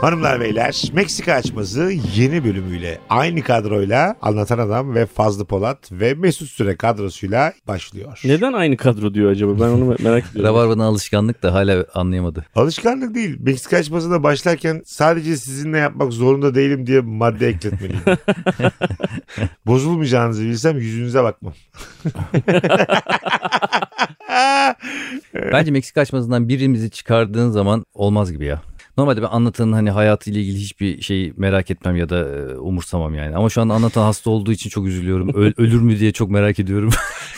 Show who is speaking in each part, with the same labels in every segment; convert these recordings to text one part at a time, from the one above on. Speaker 1: Hanımlar beyler Meksika açması yeni bölümüyle aynı kadroyla Anlatan Adam ve Fazlı Polat ve Mesut Süre kadrosuyla başlıyor.
Speaker 2: Neden aynı kadro diyor acaba? Ben onu merak ediyorum.
Speaker 3: Rabarba'nın alışkanlık da hala anlayamadı.
Speaker 1: Alışkanlık değil. Meksika açmasına başlarken sadece sizinle yapmak zorunda değilim diye madde ekletmeliyim. Bozulmayacağınızı bilsem yüzünüze bakmam.
Speaker 3: Bence Meksika açmasından birimizi çıkardığın zaman olmaz gibi ya. Normalde ben anlatanın hani hayatıyla ilgili hiçbir şeyi merak etmem ya da e, umursamam yani. Ama şu anda anlatan hasta olduğu için çok üzülüyorum. Öl- ölür mü diye çok merak ediyorum.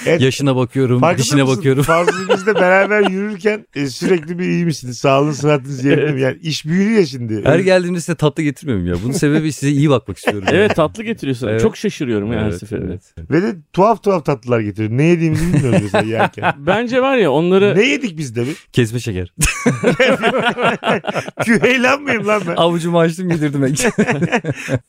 Speaker 1: Evet.
Speaker 3: Yaşına bakıyorum,
Speaker 1: Farkında
Speaker 3: dişine
Speaker 1: mısın?
Speaker 3: bakıyorum.
Speaker 1: Fazlı bizle beraber yürürken e, sürekli bir iyi misiniz? Sağlığınız, sıhhatiniz yerinde mi? Yani iş büyüdü ya şimdi.
Speaker 3: Her geldiğimde size tatlı getirmiyorum ya. Bunun sebebi size iyi bakmak istiyorum. yani.
Speaker 2: Evet tatlı getiriyorsun.
Speaker 3: Evet.
Speaker 2: Çok şaşırıyorum yani her
Speaker 3: Evet,
Speaker 2: seferinde.
Speaker 3: evet.
Speaker 1: Ve de tuhaf tuhaf tatlılar getiriyor. Ne yediğimizi bilmiyoruz mesela yerken.
Speaker 2: Bence var ya onları
Speaker 1: ne yedik biz de bir?
Speaker 3: Kesme şeker.
Speaker 1: Küheylan mıyım lan ben?
Speaker 3: Avucumu açtım yedirdim. ben.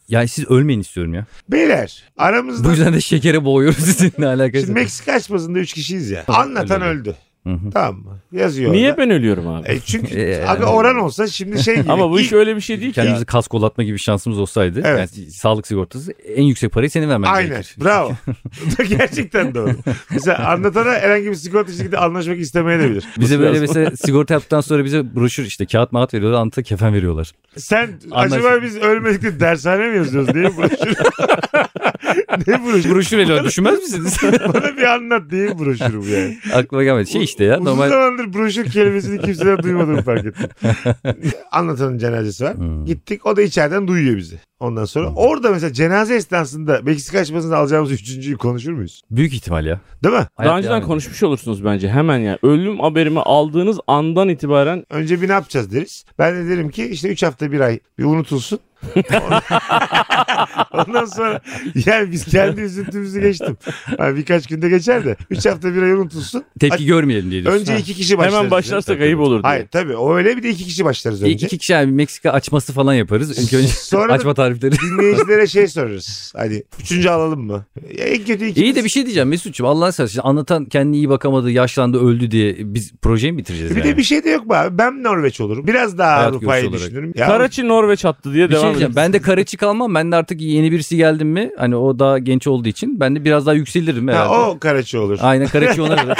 Speaker 3: yani siz ölmeyin istiyorum ya.
Speaker 1: Beyler aramızda
Speaker 3: Bu yüzden de şekere boğuyoruz sizinle alakası.
Speaker 1: Şimdi
Speaker 3: yok.
Speaker 1: Meksika açmasında 3 kişiyiz ya. Anlatan
Speaker 3: öyle.
Speaker 1: öldü.
Speaker 3: Hı hı.
Speaker 1: Tamam mı? Yazıyor.
Speaker 2: niye
Speaker 1: orada.
Speaker 2: ben ölüyorum abi?
Speaker 1: E çünkü
Speaker 3: E,
Speaker 1: abi
Speaker 3: yani.
Speaker 1: oran olsa şimdi şey gibi.
Speaker 2: Ama bu iş
Speaker 1: ilk-
Speaker 2: öyle bir şey değil ki.
Speaker 3: Kendimizi kas kolatma gibi şansımız olsaydı.
Speaker 1: Evet.
Speaker 3: Yani sağlık sigortası en yüksek parayı senin vermen
Speaker 1: Aynen.
Speaker 3: gerekir.
Speaker 1: Bravo. Bu da Gerçekten doğru. Mesela anlatana herhangi bir sigorta şirketi anlaşmak istemeyebilir.
Speaker 3: Bize böyle
Speaker 2: Nasıl?
Speaker 3: mesela sigorta yaptıktan sonra bize broşür işte kağıt mağat veriyorlar anıta kefen veriyorlar.
Speaker 1: Sen
Speaker 3: Anlaşıldı.
Speaker 1: acaba biz ölmedik de dershane mi yazıyoruz diye broşür. ne broşür?
Speaker 3: Broşür veriyorlar düşünmez misiniz?
Speaker 1: Bana bir anlat diye broşür bu yani.
Speaker 3: Aklıma gelmedi. Şey işte ya
Speaker 1: Uzun
Speaker 3: normal.
Speaker 1: zamandır broşür kelimesini kimseden duymadığımı fark ettim. Anlatanın cenazesi var.
Speaker 3: Hmm.
Speaker 1: Gittik o da içeriden duyuyor bizi. Ondan sonra
Speaker 2: Hmm.
Speaker 1: orada mesela cenaze esnasında Meksika açmasında alacağımız üçüncüyü konuşur muyuz?
Speaker 3: Büyük ihtimal ya.
Speaker 1: Değil mi?
Speaker 3: Hayat
Speaker 2: Daha önceden
Speaker 3: devam ediyor.
Speaker 2: konuşmuş olursunuz bence hemen ya. Ölüm haberimi aldığınız andan itibaren
Speaker 1: Önce bir ne yapacağız deriz. Ben de derim ki işte 3 hafta bir ay bir unutulsun. Ondan sonra yani biz kendi üzüntümüzü geçtim. Yani birkaç günde geçer de 3 hafta bir ay unutulsun.
Speaker 3: Tepki
Speaker 1: Ay-
Speaker 3: görmeyelim diye diyorsun.
Speaker 1: Önce
Speaker 3: Ha.
Speaker 1: iki kişi başlarız.
Speaker 2: hemen başlarsak
Speaker 3: Tabii,
Speaker 2: ayıp
Speaker 3: tabii.
Speaker 2: olur diye.
Speaker 1: Hayır tabii o öyle bir de iki kişi başlarız
Speaker 3: İlk
Speaker 1: önce.
Speaker 3: iki kişi yani Meksika açması falan yaparız. İlk önce
Speaker 1: Sonra da-
Speaker 3: açma tarifleri.
Speaker 1: Dinleyicilere şey sorarız. Hani üçüncü alalım mı? Ya en kötü iki.
Speaker 3: İyi de bir şey diyeceğim Mesut'cum Allah'ın seversen anlatan kendini iyi bakamadı, yaşlandı, öldü diye biz projeyi mi bitireceğiz
Speaker 1: Bir
Speaker 3: yani?
Speaker 1: de bir şey de yok mu abi? Ben Norveç olurum. Biraz daha
Speaker 3: Hayat
Speaker 1: Avrupa'yı
Speaker 3: görüşü olarak.
Speaker 1: düşünürüm. Ya,
Speaker 2: Karaçi Norveç attı diye
Speaker 3: Bir şey
Speaker 2: devam
Speaker 3: diyeceğim.
Speaker 2: edeceğim.
Speaker 3: Ben de Karaçi kalmam. Ben de artık yeni birisi geldim mi? Hani o daha genç olduğu için ben de biraz daha yükselirim
Speaker 1: ha,
Speaker 3: herhalde.
Speaker 1: o Karaçi olur.
Speaker 3: Aynen Karaçi ona göre.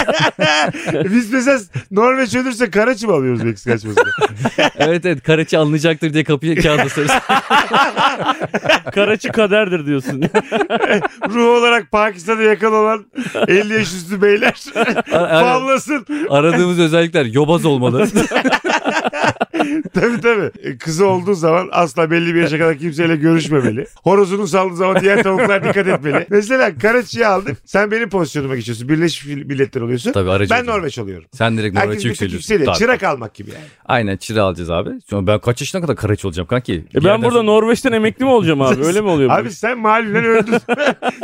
Speaker 1: Biz mesela Norveç ölürse Karaçi mi alıyoruz Meksika açmasını?
Speaker 3: evet evet Karaçi alınacaktır diye kapıya kağıt asarız.
Speaker 2: Karaçi kaderdir diyorsun.
Speaker 1: Ruh olarak Pakistan'a yakın olan 50 yaş üstü beyler
Speaker 3: Ar-
Speaker 1: favlasın.
Speaker 3: aradığımız özellikler yobaz olmalı.
Speaker 1: tabii tabii. Kızı olduğu zaman asla belli bir yaşa kadar kimseyle görüşmemeli. Horozunu saldığı zaman diğer tavuklar dikkat etmeli. Mesela Karaçi'yi aldık. Sen benim pozisyonuma geçiyorsun. Birleşmiş Milletler oluyorsun.
Speaker 3: Tabii aracı.
Speaker 1: ben
Speaker 3: olacağım.
Speaker 1: Norveç oluyorum.
Speaker 3: Sen direkt
Speaker 1: Herkes
Speaker 3: Norveç'e
Speaker 1: bir tık
Speaker 3: yükseliyorsun.
Speaker 1: yükseliyor.
Speaker 3: Tabii.
Speaker 1: Çırak almak gibi yani.
Speaker 3: Aynen çıra alacağız abi. Sonra ben kaç yaşına kadar Karaçi olacağım kanki? Bir
Speaker 2: E ben
Speaker 3: yerden
Speaker 2: burada
Speaker 3: sonra-
Speaker 2: Norveç'ten emekli mi olacağım abi? Öyle mi oluyor? bu
Speaker 1: Abi
Speaker 2: iş?
Speaker 1: sen mahallen öldün.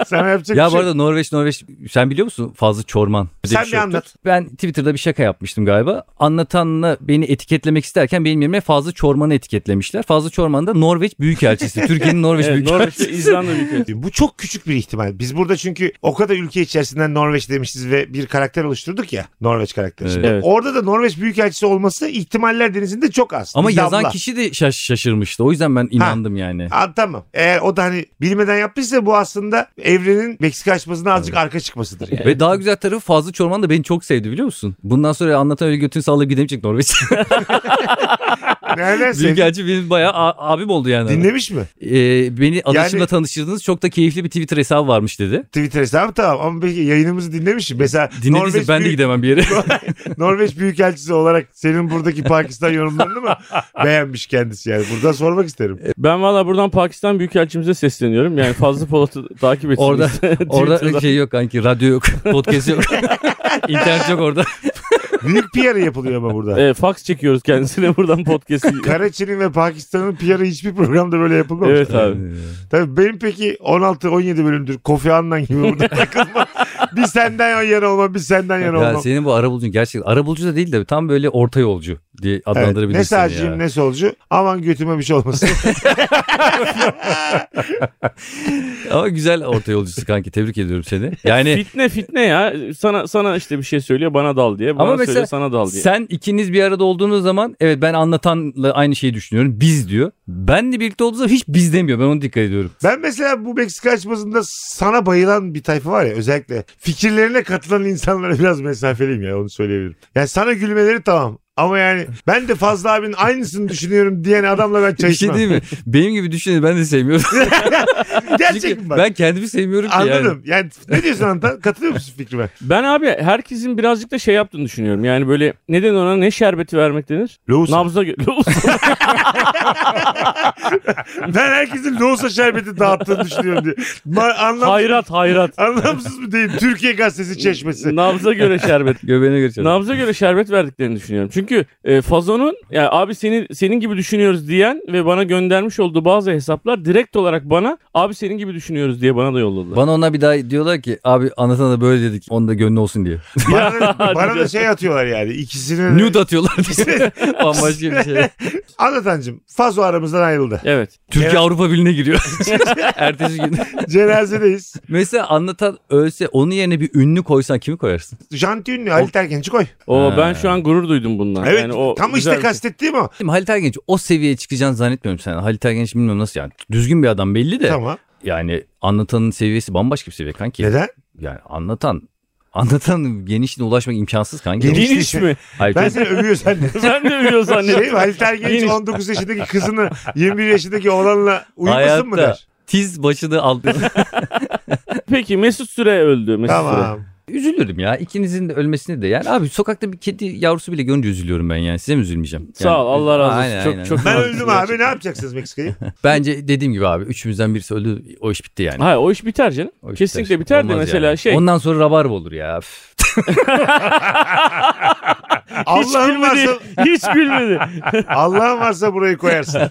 Speaker 1: Sana yapacak bir
Speaker 3: Ya bu
Speaker 1: şey
Speaker 3: arada Norveç Norveç sen biliyor musun Fazlı Çorman? de
Speaker 1: Sen
Speaker 3: şey
Speaker 1: bir
Speaker 3: yoktur.
Speaker 1: anlat.
Speaker 3: Ben Twitter'da bir şaka yapmıştım galiba. Anlatanla beni etiketlemek isterken benim yerime Fazlı Çorman'ı etiketlemişler. Fazlı Çorman da Norveç Büyükelçisi. Türkiye'nin Norveç
Speaker 2: Evet, Norveç'te
Speaker 3: Büyükelçisi.
Speaker 2: İzlanda büyük.
Speaker 1: Bu çok küçük bir ihtimal. Biz burada çünkü o kadar ülke içerisinden Norveç demişiz ve bir karakter oluşturduk ya. Norveç karakteri.
Speaker 3: Evet.
Speaker 1: Şimdi
Speaker 2: Evet.
Speaker 1: Orada da Norveç Büyükelçisi olması ihtimaller denizinde çok az.
Speaker 3: Ama
Speaker 1: Bir
Speaker 3: yazan
Speaker 1: damla.
Speaker 3: kişi de şaş- şaşırmıştı. O yüzden ben inandım yani.
Speaker 1: Aa, tamam. Eğer o da hani bilmeden yaptıysa bu aslında evrenin Meksika açmasına azıcık arka çıkmasıdır. Yani.
Speaker 3: Ve daha güzel tarafı Fazlı Çorman da beni çok sevdi biliyor musun? Bundan sonra anlatan öyle götünü sallayıp gidemeyecek Norveç.
Speaker 1: Nereden sevdin?
Speaker 3: Büyükelçi benim bayağı a- abim oldu yani.
Speaker 1: Dinlemiş mi?
Speaker 3: Ee, beni anışımla
Speaker 1: Yani-
Speaker 3: tanıştırdınız. Çok da keyifli bir Twitter hesabı varmış dedi.
Speaker 1: Twitter hesabı tamam ama peki yayınımızı dinlemiş mi? Mesela
Speaker 3: Dinlediyse ben de
Speaker 1: Büyük-
Speaker 3: gidemem bir yere.
Speaker 1: Norveç Büyükelçisi olarak senin buradaki Pakistan yorumlarını mı beğenmiş kendisi yani? Buradan sormak isterim.
Speaker 2: Ben valla buradan Pakistan Büyükelçimize sesleniyorum. Yani Fazlı Polat'ı takip etsin.
Speaker 3: Orada-
Speaker 2: Twitter'da.
Speaker 3: Orada şey yok kanki radyo yok podcast yok internet yok orada.
Speaker 1: Büyük PR yapılıyor ama burada.
Speaker 2: E, fax çekiyoruz kendisine buradan podcast'i.
Speaker 1: Karaçi'nin ve Pakistan'ın PR'ı hiçbir programda böyle yapılmamış.
Speaker 2: evet abi.
Speaker 1: Tabii benim peki 16-17 bölümdür Kofi Annan gibi burada takılma. bir senden yana olmam bir senden yana
Speaker 3: Ya
Speaker 1: olmam.
Speaker 3: senin bu arabulucun gerçekten arabulucu da değil de tam böyle orta yolcu. diye
Speaker 1: Evet,
Speaker 3: adlandırabilirsin
Speaker 1: ne sağcıyım
Speaker 3: ya.
Speaker 1: ne solcu. Aman götüme bir şey olmasın.
Speaker 3: Ama güzel orta yolcusu kanki tebrik ediyorum seni. Yani
Speaker 2: Fitne fitne ya. Sana sana işte bir şey söylüyor bana dal diye. Bana
Speaker 3: Ama mesela
Speaker 2: söylüyor sana dal diye.
Speaker 3: sen ikiniz bir arada olduğunuz zaman evet ben anlatanla aynı şeyi düşünüyorum. Biz diyor. Benle birlikte olduğu zaman hiç biz demiyor. Ben ona dikkat ediyorum.
Speaker 1: Ben mesela bu Meksika açmasında sana bayılan bir tayfa var ya özellikle. Fikirlerine katılan insanlara biraz mesafeliyim ya onu söyleyebilirim. Yani sana gülmeleri tamam. Ama yani ben de Fazla abinin aynısını düşünüyorum diyen adamla ben çay
Speaker 3: Bir şey
Speaker 1: içmem.
Speaker 3: değil mi? Benim gibi düşünün ben de sevmiyorum.
Speaker 1: Gerçek mi
Speaker 3: Çünkü
Speaker 1: bak?
Speaker 3: ben kendimi sevmiyorum ki yani.
Speaker 1: Anladım. Yani. ne diyorsun Antan? Katılıyor musun fikrime?
Speaker 2: Ben abi herkesin birazcık da şey yaptığını düşünüyorum. Yani böyle ne denir ona ne şerbeti vermek denir?
Speaker 1: Lohusa.
Speaker 2: Nabza gö- Lohusa.
Speaker 1: Ben herkesin lohusa şerbeti dağıttığını düşünüyorum diye. Ma- anlam-
Speaker 2: hayrat hayrat.
Speaker 1: Anlamsız mı değil? Türkiye Gazetesi çeşmesi.
Speaker 2: Nabza göre şerbet.
Speaker 3: Göbeğine göreceğim.
Speaker 2: Nabza göre şerbet verdiklerini düşünüyorum. Çünkü e, Fazon'un yani abi seni senin gibi düşünüyoruz diyen ve bana göndermiş olduğu bazı hesaplar direkt olarak bana abi senin gibi düşünüyoruz diye bana da yolladılar.
Speaker 3: Bana ona bir daha diyorlar ki abi anlatana da böyle dedik. Onun da gönlü olsun diye.
Speaker 1: bana, da,
Speaker 2: Ya,
Speaker 1: bana da
Speaker 2: güzel.
Speaker 1: şey atıyorlar yani. İkisini de.
Speaker 3: Nude atıyorlar diye. Bambaşka bir şey.
Speaker 1: Anlatancım Fazo aramızdan ayrıldı.
Speaker 2: evet.
Speaker 3: Türkiye
Speaker 1: Evet.
Speaker 3: Avrupa Birliği'ne giriyor. Ertesi gün.
Speaker 1: Cenazedeyiz.
Speaker 3: Mesela anlatan ölse onun yerine bir ünlü koysan kimi koyarsın?
Speaker 1: Janti ünlü Ali Terkenç'i koy.
Speaker 2: O
Speaker 3: Ha.
Speaker 2: ben şu an gurur duydum bundan.
Speaker 1: Evet
Speaker 2: Yani o
Speaker 1: tam
Speaker 2: güzel
Speaker 1: işte
Speaker 2: bir- şey.
Speaker 1: kastettiğim o.
Speaker 3: Şimdi Halit Ergenç o seviyeye çıkacağını zannetmiyorum sen. Halit Ergenç bilmiyorum nasıl yani. Düzgün bir adam belli de.
Speaker 1: Tamam.
Speaker 3: Yani anlatanın seviyesi bambaşka bir seviye kanki.
Speaker 1: Neden?
Speaker 3: Yani anlatan anlatan genişliğine ulaşmak imkansız kanki.
Speaker 1: Geniş-
Speaker 2: şey. Geniş mi?
Speaker 3: Hayır,
Speaker 1: Ben
Speaker 3: tabii.
Speaker 1: seni övüyor zannettim.
Speaker 2: Sen de hani. biliyor zannediyorsun.
Speaker 1: Şey, Ali Tergenç
Speaker 2: Geniş.
Speaker 1: 19 yaşındaki kızını 21 yaşındaki oğlanla uyumasın mı
Speaker 3: Hayatta
Speaker 1: der?
Speaker 3: Tiz başını aldı.
Speaker 2: Peki Mesut Süre öldü. Mesut Süre.
Speaker 1: Tamam.
Speaker 3: Üzülürüm ya. ikinizin de ölmesine de. Yani abi sokakta bir kedi yavrusu bile görünce üzülüyorum ben yani. Size mi üzülmeyeceğim? Yani-
Speaker 2: Sağ ol Allah razı olsun.
Speaker 3: Aynen,
Speaker 2: çok
Speaker 3: aynen.
Speaker 2: çok
Speaker 1: Ben
Speaker 2: nazik.
Speaker 1: öldüm abi ne yapacaksınız Meksika'yı?
Speaker 3: Bence dediğim gibi abi. Üçümüzden birisi öldü. O iş bitti yani.
Speaker 2: Hayır o iş biter canım.
Speaker 3: O iş
Speaker 2: Kesinlikle biter, de
Speaker 3: Olmaz
Speaker 2: mesela
Speaker 3: yani.
Speaker 2: şey.
Speaker 3: Ondan sonra rabarba olur ya. Üf.
Speaker 1: Allah'ın
Speaker 2: gülmedi.
Speaker 1: varsa,
Speaker 2: Hiç gülmedi.
Speaker 1: Allah'ın varsa burayı koyarsın.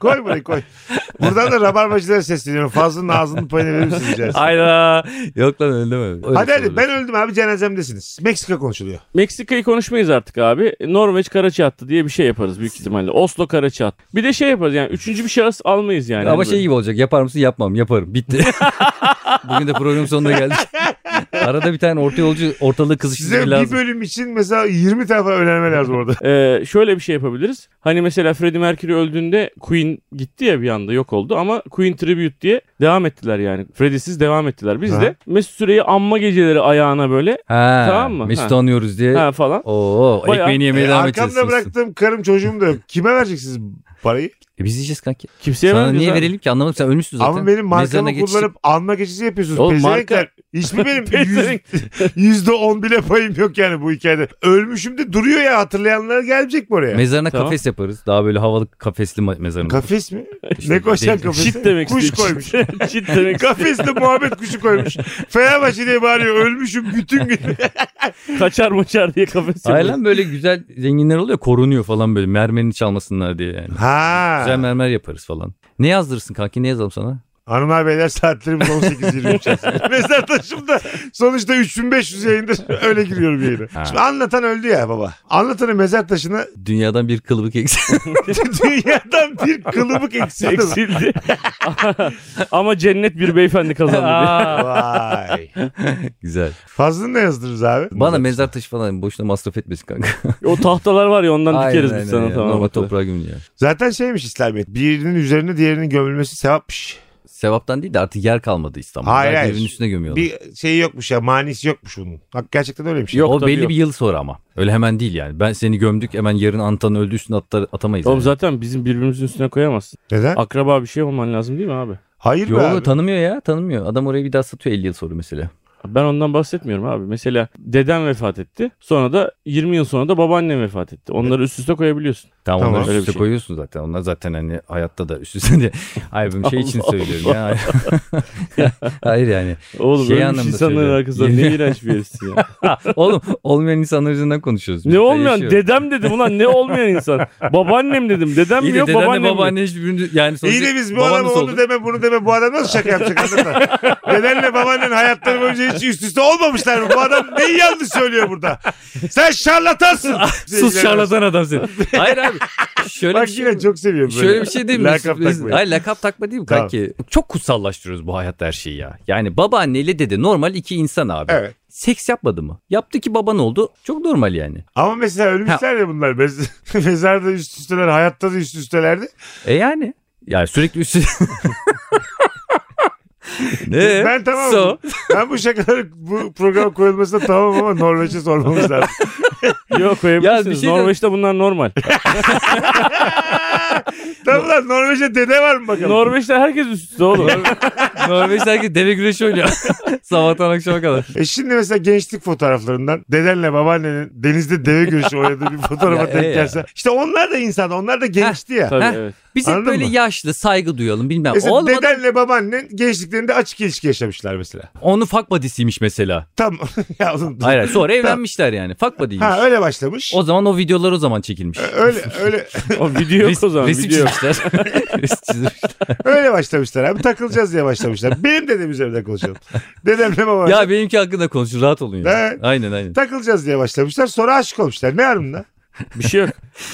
Speaker 1: koy burayı koy. Buradan da rabarbacılara sesleniyorum. Fazlının ağzının payını verir misiniz rica etsem?
Speaker 3: Hayda. Yok lan öyle deme. Öyle şey
Speaker 1: Hadi hadi
Speaker 3: sorulur.
Speaker 1: ben öldüm abi cenazemdesiniz. Meksika konuşuluyor.
Speaker 2: Meksika'yı konuşmayız artık abi. Norveç Karaçi attı diye bir şey yaparız büyük ihtimalle. Oslo Karaçi attı. Bir de şey yaparız yani üçüncü bir şahıs almayız yani.
Speaker 3: Ama
Speaker 2: Hani
Speaker 3: şey gibi olacak. Yapar mısın? Yapmam. Yaparım. Bitti. Bugün de programın sonuna geldik. Arada bir tane orta yolcu ortalığı
Speaker 1: Size
Speaker 3: kızıştırmaya
Speaker 1: bir
Speaker 3: lazım.
Speaker 1: bölüm için mesela 20 tane falan önerme lazım orada.
Speaker 2: böyle. Ee, şöyle bir şey yapabiliriz. Hani mesela Freddie Mercury öldüğünde Queen gitti ya bir anda yok oldu ama Queen Tribute diye devam ettiler yani. Freddie'siz devam ettiler. Biz
Speaker 1: Ha.
Speaker 2: de Mesut Süre'yi anma geceleri ayağına böyle
Speaker 3: Ha,
Speaker 2: Tamam mı?
Speaker 3: Mesut'u
Speaker 2: Ha.
Speaker 3: anıyoruz diye.
Speaker 2: ha falan.
Speaker 3: Oo,
Speaker 2: Bayağı-
Speaker 3: ekmeğini yemeye
Speaker 1: E,
Speaker 3: devam edeceğiz.
Speaker 1: arkamda bıraktığım karım çocuğum da yok. Kime vereceksiniz parayı?
Speaker 3: E biz yiyeceğiz kanki.
Speaker 2: Kimseye
Speaker 3: Sana
Speaker 2: vermeyeceğiz
Speaker 3: niye
Speaker 2: abi.
Speaker 3: verelim ki? Anlamadım sen ölmüşsün zaten.
Speaker 1: Ama benim
Speaker 3: Mezarına
Speaker 1: markamı
Speaker 3: geçecek-
Speaker 1: kullanıp anma geçici yapıyorsunuz.
Speaker 2: Oğlum
Speaker 1: Pezevenkler. Hiçbir benim yüz- yüzde on bile payım yok yani bu hikayede. Ölmüşüm de duruyor ya hatırlayanlar gelecek mi oraya?
Speaker 3: Mezarına
Speaker 2: Tamam.
Speaker 3: kafes yaparız. Daha böyle havalı kafesli ma- mezarına.
Speaker 1: Kafes mi?
Speaker 3: İşte
Speaker 1: ne koşan
Speaker 3: değil.
Speaker 1: kafes?
Speaker 2: Çit demek
Speaker 1: Kuş
Speaker 2: istiyor.
Speaker 1: koymuş.
Speaker 2: Çit demek.
Speaker 1: Kafeste muhabbet kuşu koymuş. Fenerbahçe diye bağırıyor. Ölmüşüm bütün gün.
Speaker 2: Kaçar maçar diye kafes
Speaker 3: Hayır
Speaker 2: yapıyor.
Speaker 3: lan böyle güzel zenginler oluyor korunuyor falan böyle mermerini çalmasınlar diye yani.
Speaker 1: Ha.
Speaker 3: Güzel mermer yaparız falan. Ne yazdırırsın kanki ne yazalım sana?
Speaker 1: Hanımlar beyler saatlerimiz 18.23. Mesela taşımda sonuçta 3500 yayındır öyle giriyorum yayına.
Speaker 3: Ha.
Speaker 1: Şimdi anlatan öldü ya baba. Anlatanın mezar taşına
Speaker 3: Dünyadan bir kılıbık eksik.
Speaker 1: dünyadan bir kılıbık eksildi.
Speaker 2: Eksildi. Ama cennet bir beyefendi kazandı diye.
Speaker 1: Vay.
Speaker 3: güzel.
Speaker 1: Fazlını ne yazdırırız abi?
Speaker 3: Bana mezar taşı falan boşuna masraf etmesin kanka.
Speaker 2: O tahtalar var ya ondan dikeriz biz sana
Speaker 3: ya.
Speaker 2: tamam.
Speaker 3: Normal toprağa gömün ya.
Speaker 1: Zaten şeymiş İslamiyet. Birinin üzerine diğerinin gömülmesi sevapmış.
Speaker 3: Sevaptan değil de artık yer kalmadı İstanbul'da.
Speaker 1: Hayır,
Speaker 3: Hayır
Speaker 1: hayır.
Speaker 3: Evin üstüne gömüyorlar.
Speaker 1: Bir şeyi yokmuş ya manisi yokmuş bunun. Bak gerçekten öyleymiş.
Speaker 2: Yok
Speaker 3: o
Speaker 2: tabii
Speaker 3: belli
Speaker 2: yok.
Speaker 3: bir yıl sonra ama. Öyle hemen değil yani. Ben seni gömdük hemen yarın Antan öldü üstüne atla- atamayız.
Speaker 2: Oğlum
Speaker 3: yani.
Speaker 2: zaten bizim birbirimizin üstüne koyamazsın.
Speaker 1: Neden?
Speaker 2: Akraba bir şey olman lazım değil mi abi?
Speaker 1: Hayır be abi.
Speaker 3: Yok tanımıyor ya tanımıyor. Adam orayı bir daha satıyor 50 yıl sonra mesela.
Speaker 2: Ben ondan bahsetmiyorum abi. Mesela dedem vefat etti. Sonra da 20 yıl sonra da babaannem vefat etti. Onları üst üste koyabiliyorsun.
Speaker 3: Tamam,
Speaker 1: Tamam.
Speaker 3: onları
Speaker 2: Öyle
Speaker 3: üst
Speaker 2: bir
Speaker 3: üste
Speaker 2: şey.
Speaker 3: koyuyorsun zaten. Onlar zaten hani hayatta da üst üste de. Hayır ben şey için
Speaker 2: Allah
Speaker 3: söylüyorum ya. Hayır yani.
Speaker 2: Oğlum
Speaker 3: Şey
Speaker 2: ölmüş
Speaker 3: anlamda
Speaker 2: insanların
Speaker 3: söylüyorum.
Speaker 2: arkasından ne iğrenç bir herifsin ya.
Speaker 3: Oğlum olmayan insanlar yüzünden konuşuyoruz.
Speaker 2: ne
Speaker 3: Biz de
Speaker 2: olmayan
Speaker 3: yaşıyor.
Speaker 2: dedem dedim ulan ne olmayan insan. Babaannem dedim. Dedem
Speaker 3: İyi
Speaker 2: mi
Speaker 3: de
Speaker 2: yok
Speaker 3: dedenle
Speaker 2: babaannem mi?
Speaker 3: babaanne hiçbirini yani
Speaker 1: İyi
Speaker 3: sonuçta
Speaker 1: de biz bu
Speaker 3: baban
Speaker 1: adama
Speaker 3: nasıl
Speaker 1: onu
Speaker 3: oldu?
Speaker 1: deme bunu deme bu adam nasıl şaka yapacak anlatan? Nedenle babaannen hayatları boyunca hiç gerçi üst üste olmamışlar mı? Bu adam neyi yanlış söylüyor burada? Sen şarlatansın.
Speaker 3: Ah,
Speaker 2: Sus şarlatan adam sen.
Speaker 3: Hayır abi. Şöyle
Speaker 1: Bak
Speaker 3: bir şey
Speaker 1: yine çok seviyorum böyle.
Speaker 3: Şöyle bir şey değil mi?
Speaker 1: Lakap
Speaker 3: Biz-
Speaker 1: takmayı.
Speaker 3: Hayır lakap takma değil mi
Speaker 1: Tamam.
Speaker 3: kanki? Çok kutsallaştırıyoruz bu hayatta her şeyi ya. Yani babaanneyle dede normal iki insan abi.
Speaker 1: Evet.
Speaker 3: Seks yapmadı mı? Yaptı ki baban oldu. Çok normal yani.
Speaker 1: Ama mesela ölmüşler ya bunlar. Mez- Mezarda üst üsteler, hayatta da üst üstelerdi.
Speaker 3: E yani. Yani sürekli üstü... ne?
Speaker 1: Ben tamamım.
Speaker 3: Ee, So,
Speaker 1: Ben bu şakaları bu program koyulmasına tamam ama Norveç'e sormamız lazım.
Speaker 2: Yok
Speaker 3: Ya bir
Speaker 2: koyabilirsiniz.
Speaker 3: şey de-
Speaker 2: Norveç'te bunlar normal.
Speaker 1: tamam lan Norveç'e dede var mı bakalım?
Speaker 2: Norveç'te herkes üst üste oğlum.
Speaker 3: Norveç'te herkes deve güreşi oynuyor. Sabahtan akşama kadar.
Speaker 1: E şimdi mesela gençlik fotoğraflarından dedenle babaannenin denizde deve güreşi oynadığı bir fotoğrafa
Speaker 3: Ya, e
Speaker 1: denk
Speaker 3: ya.
Speaker 1: gelse. İşte onlar da insan. Onlar da gençti ya.
Speaker 2: Tabii
Speaker 3: Heh.
Speaker 2: evet.
Speaker 3: Biz hep
Speaker 1: Anladın
Speaker 3: böyle
Speaker 1: mı?
Speaker 3: yaşlı, saygı duyalım bilmem.
Speaker 1: Mesela
Speaker 3: Olmadı.
Speaker 1: dedenle babaannen gençliklerinde açık ilişki yaşamışlar mesela.
Speaker 3: Onun fuck buddy'siymiş mesela.
Speaker 1: Tamam. ya oğlum,
Speaker 3: Hayır, hayır, sonra evlenmişler yani. Fuck buddy'ymiş.
Speaker 1: Ha öyle başlamış.
Speaker 3: O zaman o videolar o zaman çekilmiş.
Speaker 1: Öyle öyle
Speaker 2: O video yok
Speaker 3: Res-
Speaker 2: o zaman.
Speaker 3: Resim
Speaker 2: video yok.
Speaker 3: çizmişler. Resim çizmişler.
Speaker 1: öyle başlamışlar abi takılacağız diye başlamışlar. Benim dedem üzerinde konuşalım. Dedemle babam.
Speaker 3: ya benimki hakkında konuşun rahat olun ya.
Speaker 1: Evet.
Speaker 3: Aynen aynen.
Speaker 1: Takılacağız diye başlamışlar. Sonra aşık olmuşlar. Ne arımda?
Speaker 2: Bir şey yok.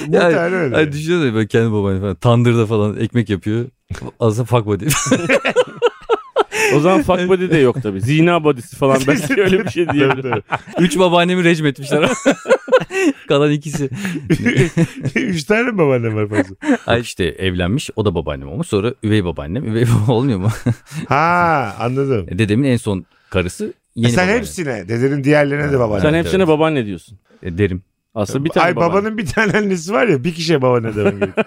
Speaker 1: Bu
Speaker 3: Yani-
Speaker 1: tane öyle.
Speaker 3: Ay düşünsene böyle kendi babanı falan tandırda falan ekmek yapıyor. Aslında fuck buddy.
Speaker 2: O zaman fuck body de yok tabii. Zina body'si falan. Belki öyle bir şey
Speaker 1: Tabii,
Speaker 2: diyebilirim.
Speaker 1: tabii.
Speaker 3: Üç babaannemi rejim etmişler. Kalan ikisi.
Speaker 1: Üç tane mi babaannem var fazla?
Speaker 3: Ay işte evlenmiş o da babaannem olmuş. Sonra üvey babaannem. Üvey baba olmuyor mu? E,
Speaker 1: Ha anladım.
Speaker 3: Dedemin en son karısı
Speaker 1: E
Speaker 3: yeni
Speaker 1: sen
Speaker 3: babaannem.
Speaker 1: hepsine dedenin diğerlerine de babaanne.
Speaker 2: Sen
Speaker 3: Evet,
Speaker 2: hepsine
Speaker 3: evet.
Speaker 2: babaanne diyorsun.
Speaker 3: E, derim.
Speaker 2: Aslında bir tane
Speaker 1: Ay
Speaker 2: babaanne.
Speaker 1: babanın bir tane annesi var ya bir kişiye babaanne demen gerekiyor.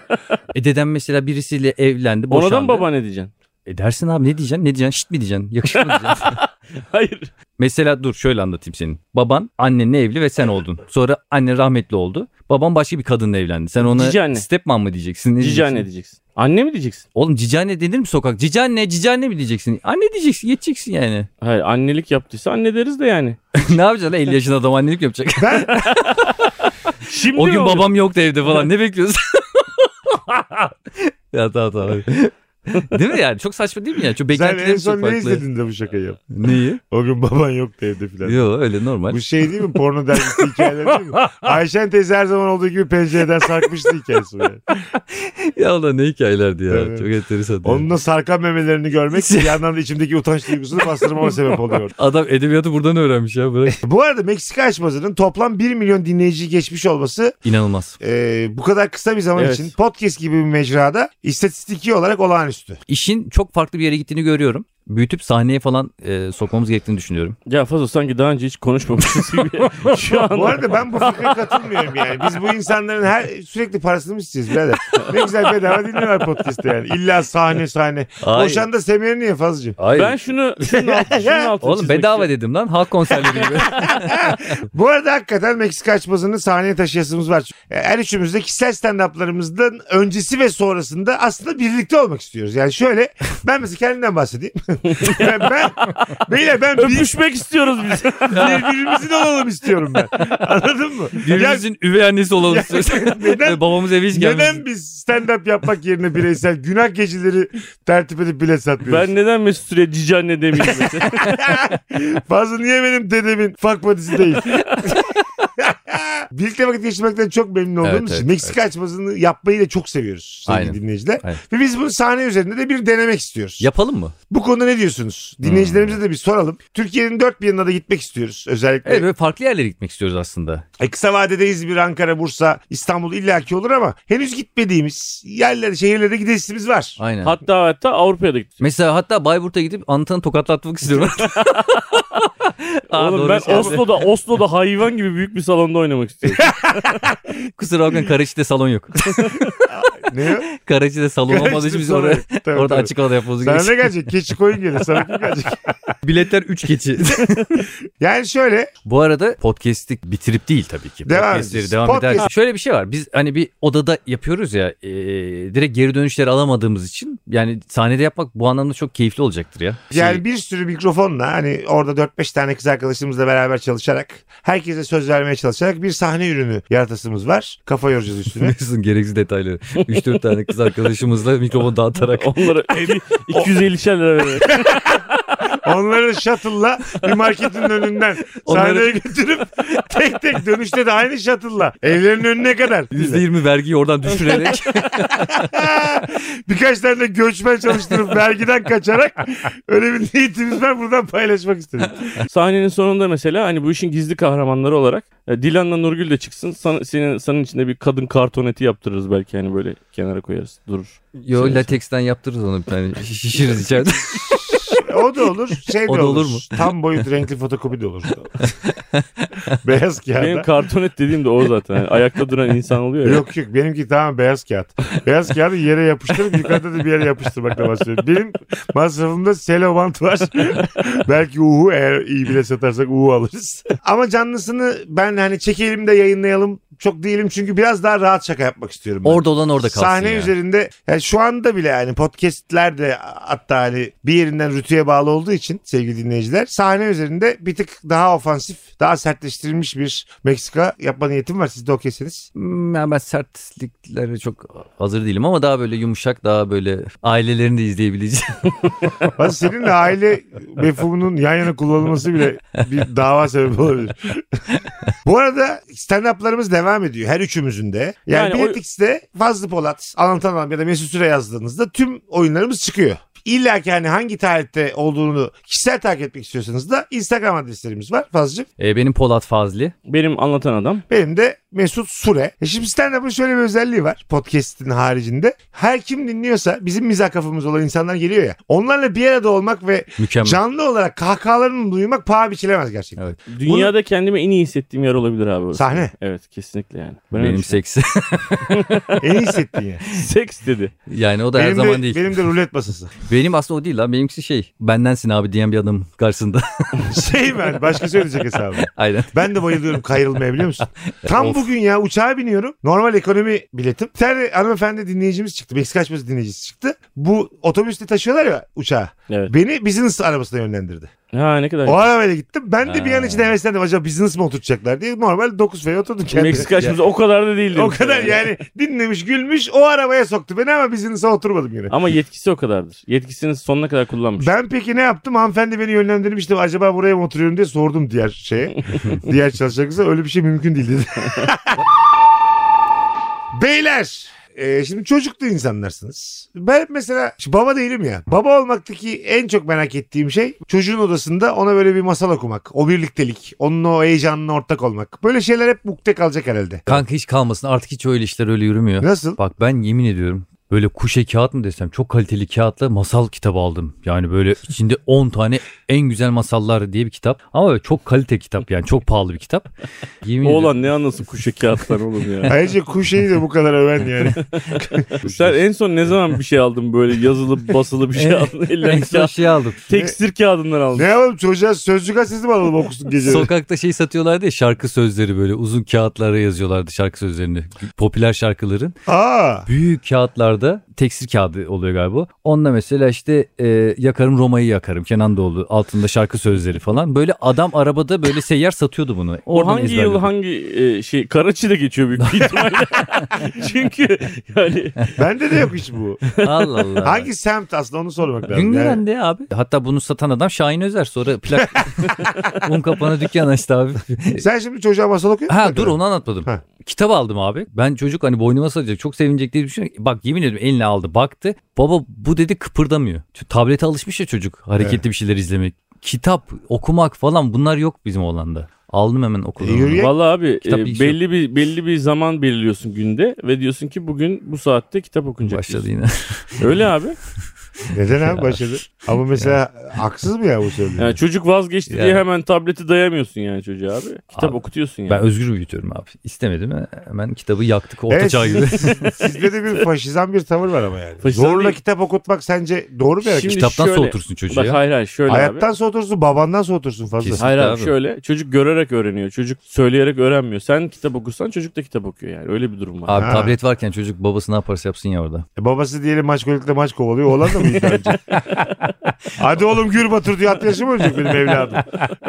Speaker 3: E dedem mesela birisiyle evlendi
Speaker 2: Ona
Speaker 3: boşandı.
Speaker 2: da mı babaanne diyeceksin?
Speaker 3: E dersin abi ne diyeceksin? Ne diyeceksin? Şşt mi diyeceksin? Yakışır mı diyeceksin?
Speaker 2: Hayır.
Speaker 3: Mesela dur şöyle anlatayım senin. Baban annenle evli ve sen oldun. Sonra anne rahmetli oldu. Baban başka bir kadınla evlendi. Sen ona
Speaker 2: Cici anne.
Speaker 3: stepmom mı diyeceksin? Ne
Speaker 2: Cici
Speaker 3: diyeceksin?
Speaker 2: anne diyeceksin. Anne mi diyeceksin?
Speaker 3: Oğlum cici anne denir mi sokak? Cici anne, cici anne mi diyeceksin? Anne diyeceksin, geçeceksin yani.
Speaker 2: Hayır annelik yaptıysa anne deriz de yani.
Speaker 3: ne yapacaksın lan 50 yaşında adam annelik yapacak.
Speaker 1: Ben
Speaker 2: Şimdi
Speaker 3: o
Speaker 2: mi
Speaker 3: gün
Speaker 2: oluyor?
Speaker 3: babam yoktu evde falan. Ne bekliyorsun? ya tamam tamam. Değil mi yani? Çok saçma değil mi yani? Çok
Speaker 1: sen en
Speaker 3: beklentilerimiz çok
Speaker 1: son ne
Speaker 3: farklı.
Speaker 1: izledin de bu şakayı yap.
Speaker 3: Neyi?
Speaker 1: O gün baban yoktu evde filan.
Speaker 3: Yok öyle normal.
Speaker 1: Bu şey değil mi? Porno dergisi hikayeleri değil mi? Ayşen teyze her zaman olduğu gibi pencereden sarkmıştı hikayesi. bu Yani.
Speaker 3: ya ulan ne hikayelerdi ya.
Speaker 1: Evet.
Speaker 3: Çok enteresan. yani.
Speaker 1: Onunla sarkan memelerini görmek bir yandan da içimdeki utanç duygusunu bastırmama sebep oluyor.
Speaker 3: Adam edebiyatı buradan öğrenmiş ya. Bırak.
Speaker 1: Bu arada Meksika açmazının toplam 1 milyon dinleyiciyi geçmiş olması
Speaker 3: İnanılmaz.
Speaker 1: e, bu kadar kısa bir zaman
Speaker 2: Evet.
Speaker 1: için podcast gibi bir mecrada istatistiki olarak olağanüstü.
Speaker 3: İşin çok farklı bir yere gittiğini görüyorum. Büyütüp sahneye falan e, sokmamız gerektiğini düşünüyorum.
Speaker 2: Ya Fazo sanki daha önce hiç konuşmamışız gibi. Şu anda.
Speaker 1: Bu arada ben bu fikre katılmıyorum yani. Biz bu insanların her sürekli parasını mı isteyeceğiz birader? Ne güzel bedava dinliyorlar podcast'te yani. İlla sahne sahne.
Speaker 3: Hayır.
Speaker 1: Boşan da Semer'i niye fazlacığım?
Speaker 3: Hayır.
Speaker 2: Ben şunu şunun altını, şunun altını
Speaker 3: Oğlum
Speaker 2: çizmek
Speaker 3: bedava
Speaker 2: istiyorum.
Speaker 3: dedim lan. Halk konserleri gibi.
Speaker 1: Bu arada hakikaten Meksika açmasını sahneye taşıyasımız var. E, Her üçümüz de kişisel stand-up'larımızdan öncesi ve sonrasında aslında birlikte olmak istiyoruz. Yani şöyle ben mesela kendimden bahsedeyim. ben, ben, beyler ben bir,
Speaker 2: Öpüşmek istiyoruz biz.
Speaker 1: birbirimizin olalım istiyorum ben. Anladın mı? Ya
Speaker 3: Birbirimizin üvey annesi olalım istiyoruz.
Speaker 1: neden-
Speaker 3: Babamız eve hiç gelmesin.
Speaker 1: neden biz stand-up yapmak yerine bireysel günah geceleri tertip edip bilet satmıyoruz?
Speaker 2: ben neden Mesut Süre cici anne demeyeyim mesela?
Speaker 1: Fazla niye benim dedemin fuck buddy'si değil? Birlikte vakit geçirmekten çok memnun olduğumuz
Speaker 3: Evet,
Speaker 1: için
Speaker 3: evet,
Speaker 1: Meksika açmasını yapmayı da çok seviyoruz sevgili
Speaker 3: Aynen.
Speaker 1: dinleyiciler.
Speaker 3: Aynen.
Speaker 1: Ve biz bunu sahne üzerinde de bir denemek istiyoruz.
Speaker 3: Yapalım mı?
Speaker 1: Bu konuda ne diyorsunuz? Dinleyicilerimize de bir soralım. Türkiye'nin dört bir yanına da gitmek istiyoruz. Özellikle
Speaker 3: Evet, böyle farklı yerlere gitmek istiyoruz aslında.
Speaker 1: e, kısa vadede İzmir, Ankara, Bursa, İstanbul illaki olur ama henüz gitmediğimiz yerlere, şehirlere gidesimiz var.
Speaker 3: Aynen.
Speaker 2: hatta hatta Avrupa'ya da gittik.
Speaker 3: Mesela hatta Bayburt'a gidip Anıtan'ı tokatlatmak istiyorum. Aa,
Speaker 2: Oğlum
Speaker 3: doğru,
Speaker 2: ben
Speaker 3: mesela.
Speaker 2: Oslo'da Oslo'da hayvan gibi büyük bir salonda oynamak istiyorum.
Speaker 3: Kusura bakmayın Karaçi'de salon yok.
Speaker 1: Ne?
Speaker 3: Karaçi'de salon olmadığı için biz
Speaker 1: Sonra-
Speaker 3: şey oraya,
Speaker 1: Tabii,
Speaker 3: orada
Speaker 1: tabii.
Speaker 3: açık havada yapmamız
Speaker 1: Sana ne
Speaker 3: gerekiyor.
Speaker 1: gelecek? Keçi koyun gelir. Sana kim gelecek?
Speaker 3: Biletler 3 keçi.
Speaker 1: Yani şöyle
Speaker 3: Bu arada podcast'i bitirip değil tabii ki.
Speaker 1: Devam
Speaker 3: Podcast'leri
Speaker 1: edeceğiz.
Speaker 3: devam
Speaker 1: Podcast-
Speaker 3: ederken. Şöyle bir şey var. Biz hani bir odada yapıyoruz ya. e, direkt geri dönüşleri alamadığımız için. Yani sahnede yapmak bu anlamda çok keyifli olacaktır ya. Şey,
Speaker 1: Yani bir sürü mikrofonla hani orada 4-5 tane kız arkadaşımızla beraber çalışarak herkese söz vermeye çalışarak bir sahne ürünü yaratasımız var. Kafa yoracağız üstüne.
Speaker 3: Biliyorsun gereksiz detayları. 3-4 tane kız arkadaşımızla mikrofonu dağıtarak.
Speaker 2: Onlara 50, 250 lira veriyorum.
Speaker 1: Onları shuttle'la bir marketin önünden
Speaker 3: Onları-
Speaker 1: sahneye götürüp tek tek dönüşte de aynı shuttle'la evlerinin önüne kadar.
Speaker 3: %20 vergiyi oradan düşürerek
Speaker 1: Birkaç tane de göçmen çalıştırıp vergiden kaçarak öyle bir niyetimiz var buradan paylaşmak istedim.
Speaker 2: Sahnenin sonunda mesela hani bu işin gizli kahramanları olarak e, Dilan'la Nurgül de çıksın. Sana, senin, senin içinde bir kadın karton eti yaptırırız belki hani böyle kenara koyarız durur.
Speaker 3: Yo lateksten yaptırırız onu bir tane. Şiş- Şişiririz içeride.
Speaker 1: O da olur. Şey de
Speaker 3: O
Speaker 1: olur.
Speaker 3: da olur mu?
Speaker 1: Tam boyut renkli fotokopi de olur. beyaz
Speaker 2: Benim
Speaker 1: kağıda.
Speaker 2: karton et dediğim de o zaten. Yani ayakta duran insan oluyor ya.
Speaker 1: Yok yok benimki tamam beyaz kağıt. Beyaz kağıdı yere yapıştırıp yukarıda da bir yere yapıştırmakla başlıyor. Benim masrafımda selobant var. Belki uhu eğer iyi bile satarsak uhu alırız. Ama canlısını ben hani çekelim de yayınlayalım çok değilim çünkü biraz daha rahat şaka yapmak istiyorum. ben.
Speaker 3: Orada olan orada kalsın
Speaker 1: Sahne
Speaker 3: yani.
Speaker 1: üzerinde yani şu anda bile yani podcastler de hatta hani bir yerinden rütüye bağlı olduğu için sevgili dinleyiciler sahne üzerinde bir tık daha ofansif daha sertleştirilmiş bir Meksika yapma niyetim var siz de okeyseniz.
Speaker 3: Hmm, Yani ben sertliklere çok hazır değilim ama daha böyle yumuşak daha böyle ailelerini de izleyebileceği.
Speaker 1: Bak seninle aile mefhumunun yan yana kullanılması bile bir dava sebebi olabilir. Bu arada stand-up'larımız devam ediyor her üçümüzün de. Yani,
Speaker 2: Yani o-
Speaker 1: Biletix'te Fazlı Polat, Alan Tanrım ya da Mesut Süre yazdığınızda tüm oyunlarımız çıkıyor. İlla ki hani hangi tarihte olduğunu kişisel takip etmek istiyorsanız da Instagram adreslerimiz var Fazlıcığım.
Speaker 3: E, benim Polat Fazlı.
Speaker 2: Benim anlatan adam.
Speaker 1: Benim de Mesut Süre. E şimdi stand-up'ın şöyle bir özelliği var podcast'in haricinde. Her kim dinliyorsa bizim mizah kafamız olan insanlar geliyor ya. Onlarla bir arada olmak ve
Speaker 3: Mükemmel.
Speaker 1: Canlı olarak kahkahalarını duymak paha biçilemez gerçekten.
Speaker 3: Evet.
Speaker 2: Dünyada kendimi en iyi hissettiğim yer olabilir abi. burası.
Speaker 1: Sahne.
Speaker 2: Evet kesinlikle yani. Ben öyle
Speaker 3: Benim
Speaker 2: düşünüyorum.
Speaker 3: seksi.
Speaker 1: En iyi hissettiğin yer.
Speaker 2: seks dedi.
Speaker 3: Yani o da her
Speaker 1: benim,
Speaker 3: zaman
Speaker 1: de,
Speaker 3: değil. Benim...
Speaker 1: benim de rulet masası.
Speaker 3: aslında o değil lan. Benimkisi şey. Bendensin abi diyen bir adam karşısında.
Speaker 1: Şey ben başka söyleyecek hesabı.
Speaker 3: Aynen.
Speaker 1: Ben de bayılıyorum kayırılmaya biliyor musun? Tam
Speaker 3: Of.
Speaker 1: bugün ya uçağa biniyorum. Normal ekonomi biletim. Bir tane hanımefendi dinleyicimiz çıktı. Meksika açması dinleyicisi çıktı. Bu otobüste taşıyorlar ya uçağa.
Speaker 2: Evet.
Speaker 1: Beni business arabasına yönlendirdi.
Speaker 2: Ha ne kadar.
Speaker 1: O arabayla gittim. Ben de bir an
Speaker 2: Ha.
Speaker 1: için heveslendim. Acaba business mi oturtacaklar diye. Normal 9 feye oturdum kendime.
Speaker 2: Meksika açımızda o kadar da değildi.
Speaker 1: O kadar yani dinlemiş gülmüş o arabaya soktu beni ama business'a oturmadım yine.
Speaker 2: Ama yetkisi o kadardır. Yetkisini sonuna kadar kullanmış.
Speaker 1: Ben peki ne yaptım? Hanımefendi beni yönlendirmişti. Acaba buraya mı oturuyorum diye sordum diğer şeye. diğer çalışan kıza. Öyle bir şey mümkün değil dedi. Beyler. e, şimdi çocuklu insanlarsınız. Ben mesela şimdi baba değilim ya. Baba olmaktaki en çok merak ettiğim şey çocuğun odasında ona böyle bir masal okumak. O birliktelik. Onun o heyecanına ortak olmak. Böyle şeyler hep mukte kalacak herhalde.
Speaker 3: Kanka hiç kalmasın. Artık hiç öyle işler öyle yürümüyor.
Speaker 1: Nasıl?
Speaker 3: Bak ben yemin ediyorum böyle kuşe kağıt mı desem çok kaliteli kağıtla masal kitabı aldım. Yani böyle içinde 10 tane en güzel masallar diye bir kitap. Ama böyle çok kalite kitap yani çok pahalı bir kitap. Yemin ediyorum.
Speaker 2: Oğlan ne anlasın kuşa kağıttan oğlum ya.
Speaker 1: Ayrıca kuşeyi de bu kadar öven yani.
Speaker 2: Sen en son ne zaman bir şey aldın böyle yazılı basılı bir şey
Speaker 3: Evet.
Speaker 2: aldın
Speaker 3: En
Speaker 2: elinden
Speaker 3: son
Speaker 2: kağıt.
Speaker 3: şey aldım.
Speaker 2: Tekstir kağıdından
Speaker 1: ne
Speaker 2: aldın.
Speaker 1: yapalım çocuğa sözcük asesi mi alalım okusun geceleri?
Speaker 3: Sokakta şey satıyorlardı ya şarkı sözleri böyle uzun kağıtlara yazıyorlardı şarkı sözlerini. Popüler şarkıların.
Speaker 1: Aa.
Speaker 3: Büyük kağıtlarda tekstil kağıdı oluyor galiba. Onunla mesela işte e, yakarım Roma'yı yakarım Kenan Doğulu altında şarkı sözleri falan. Böyle adam arabada böyle seyyar satıyordu bunu.
Speaker 2: O
Speaker 3: Oradan
Speaker 2: hangi yıl
Speaker 3: ezberledim.
Speaker 2: hangi e, şey Karaçi'de geçiyor büyük bir ihtimalle. Çünkü yani
Speaker 1: Bende de yok hiç bu.
Speaker 3: Allah Allah.
Speaker 1: Hangi semt aslında onu sormak lazım.
Speaker 3: Güngören'de
Speaker 1: Yani
Speaker 3: abi. Hatta bunu satan adam Şahin Özer sonra plak un kapana dükkan açtı abi.
Speaker 1: sen şimdi çocuğa masal okuyor musun?
Speaker 3: Ha dur onu anlatmadım.
Speaker 1: Ha.
Speaker 3: Kitap aldım abi. Ben çocuk hani boynuma saracak çok sevinecek diye düşünüyorum. Bak yemin ediyorum eline aldı baktı. Baba bu dedi kıpırdamıyor. Çünkü Tablete alışmış ya çocuk hareketli bir şeyler izlemek. Kitap okumak falan bunlar yok bizim Hollanda. Aldım hemen okudum.
Speaker 1: E, yürüye-
Speaker 2: vallahi abi
Speaker 3: Kitap
Speaker 2: e,
Speaker 3: ilk şey-
Speaker 2: belli bir belli bir zaman belirliyorsun günde ve diyorsun ki bugün bu saatte kitap okunacak.
Speaker 3: Başladı yine.
Speaker 2: diyorsun. Öyle abi.
Speaker 1: Neden abi başladı? Ama mesela haksız mı ya bu söylediğin?
Speaker 2: Hmm. Yani çocuk vazgeçti
Speaker 3: Yani.
Speaker 2: diye hemen tableti dayamıyorsun yani çocuğa abi. Kitap
Speaker 3: Abi,
Speaker 2: okutuyorsun yani.
Speaker 3: ben özgür büyütüyorum abi. İstemedim hemen kitabı yaktık orta
Speaker 1: Evet,
Speaker 3: çağ gibi.
Speaker 1: siz- siz- sizde de bir faşizan bir tavır var ama yani.
Speaker 2: Faşizan
Speaker 1: Zorla
Speaker 2: değil.
Speaker 1: kitap okutmak sence doğru bir hareket?
Speaker 2: Şimdi
Speaker 3: Kitaptan
Speaker 2: şöyle-
Speaker 3: soğutursun çocuğu
Speaker 2: Bak
Speaker 3: ya.
Speaker 2: hayır hayır şöyle abi.
Speaker 1: Hayattan soğutursun, babandan soğutursun fazla.
Speaker 3: Kesin.
Speaker 2: Hayır abi
Speaker 3: Tabii.
Speaker 2: şöyle çocuk görerek öğreniyor. Çocuk söyleyerek öğrenmiyor. Sen kitap okursan çocuk da kitap okuyor yani. Öyle bir durum var.
Speaker 3: Abi
Speaker 1: Ha.
Speaker 3: tablet varken çocuk babası ne yaparsa yapsın ya orada.
Speaker 1: E, babası diyelim maç golükle maç kovalıyor. Olan da oğlum ilk önce. Hadi oğlum Gür Batur diye at yaşım ölecek benim evladım.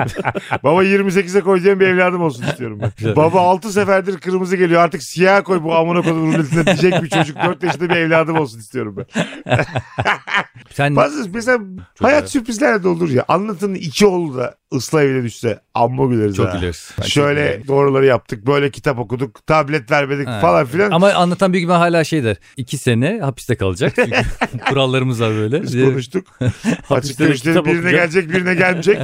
Speaker 1: Baba 28'e koyacağım bir evladım olsun istiyorum ben. Baba 6 seferdir kırmızı geliyor artık siyah koy bu amına kodum ruletine diyecek bir çocuk 4 yaşında bir evladım olsun istiyorum ben.
Speaker 3: Sen
Speaker 1: Bazı mesela hayat sürprizlerle de olur ya. Anlatın iki oğlu da ıslah evine düşse amma güleriz
Speaker 3: çok
Speaker 1: ha.
Speaker 3: güleriz. Ben çok gülerim.
Speaker 1: Şöyle doğruları yaptık, böyle kitap okuduk, tablet vermedik
Speaker 3: Ha.
Speaker 1: falan filan.
Speaker 3: Ama anlatan büyük ihtimal hala şey der. İki sene hapiste kalacak. Çünkü kurallarımız var böyle.
Speaker 1: Biz konuştuk. Açık
Speaker 2: Hapiste de
Speaker 1: görüşleri
Speaker 2: kitap
Speaker 1: birine
Speaker 2: okuyacak.
Speaker 1: gelecek, birine gelmeyecek.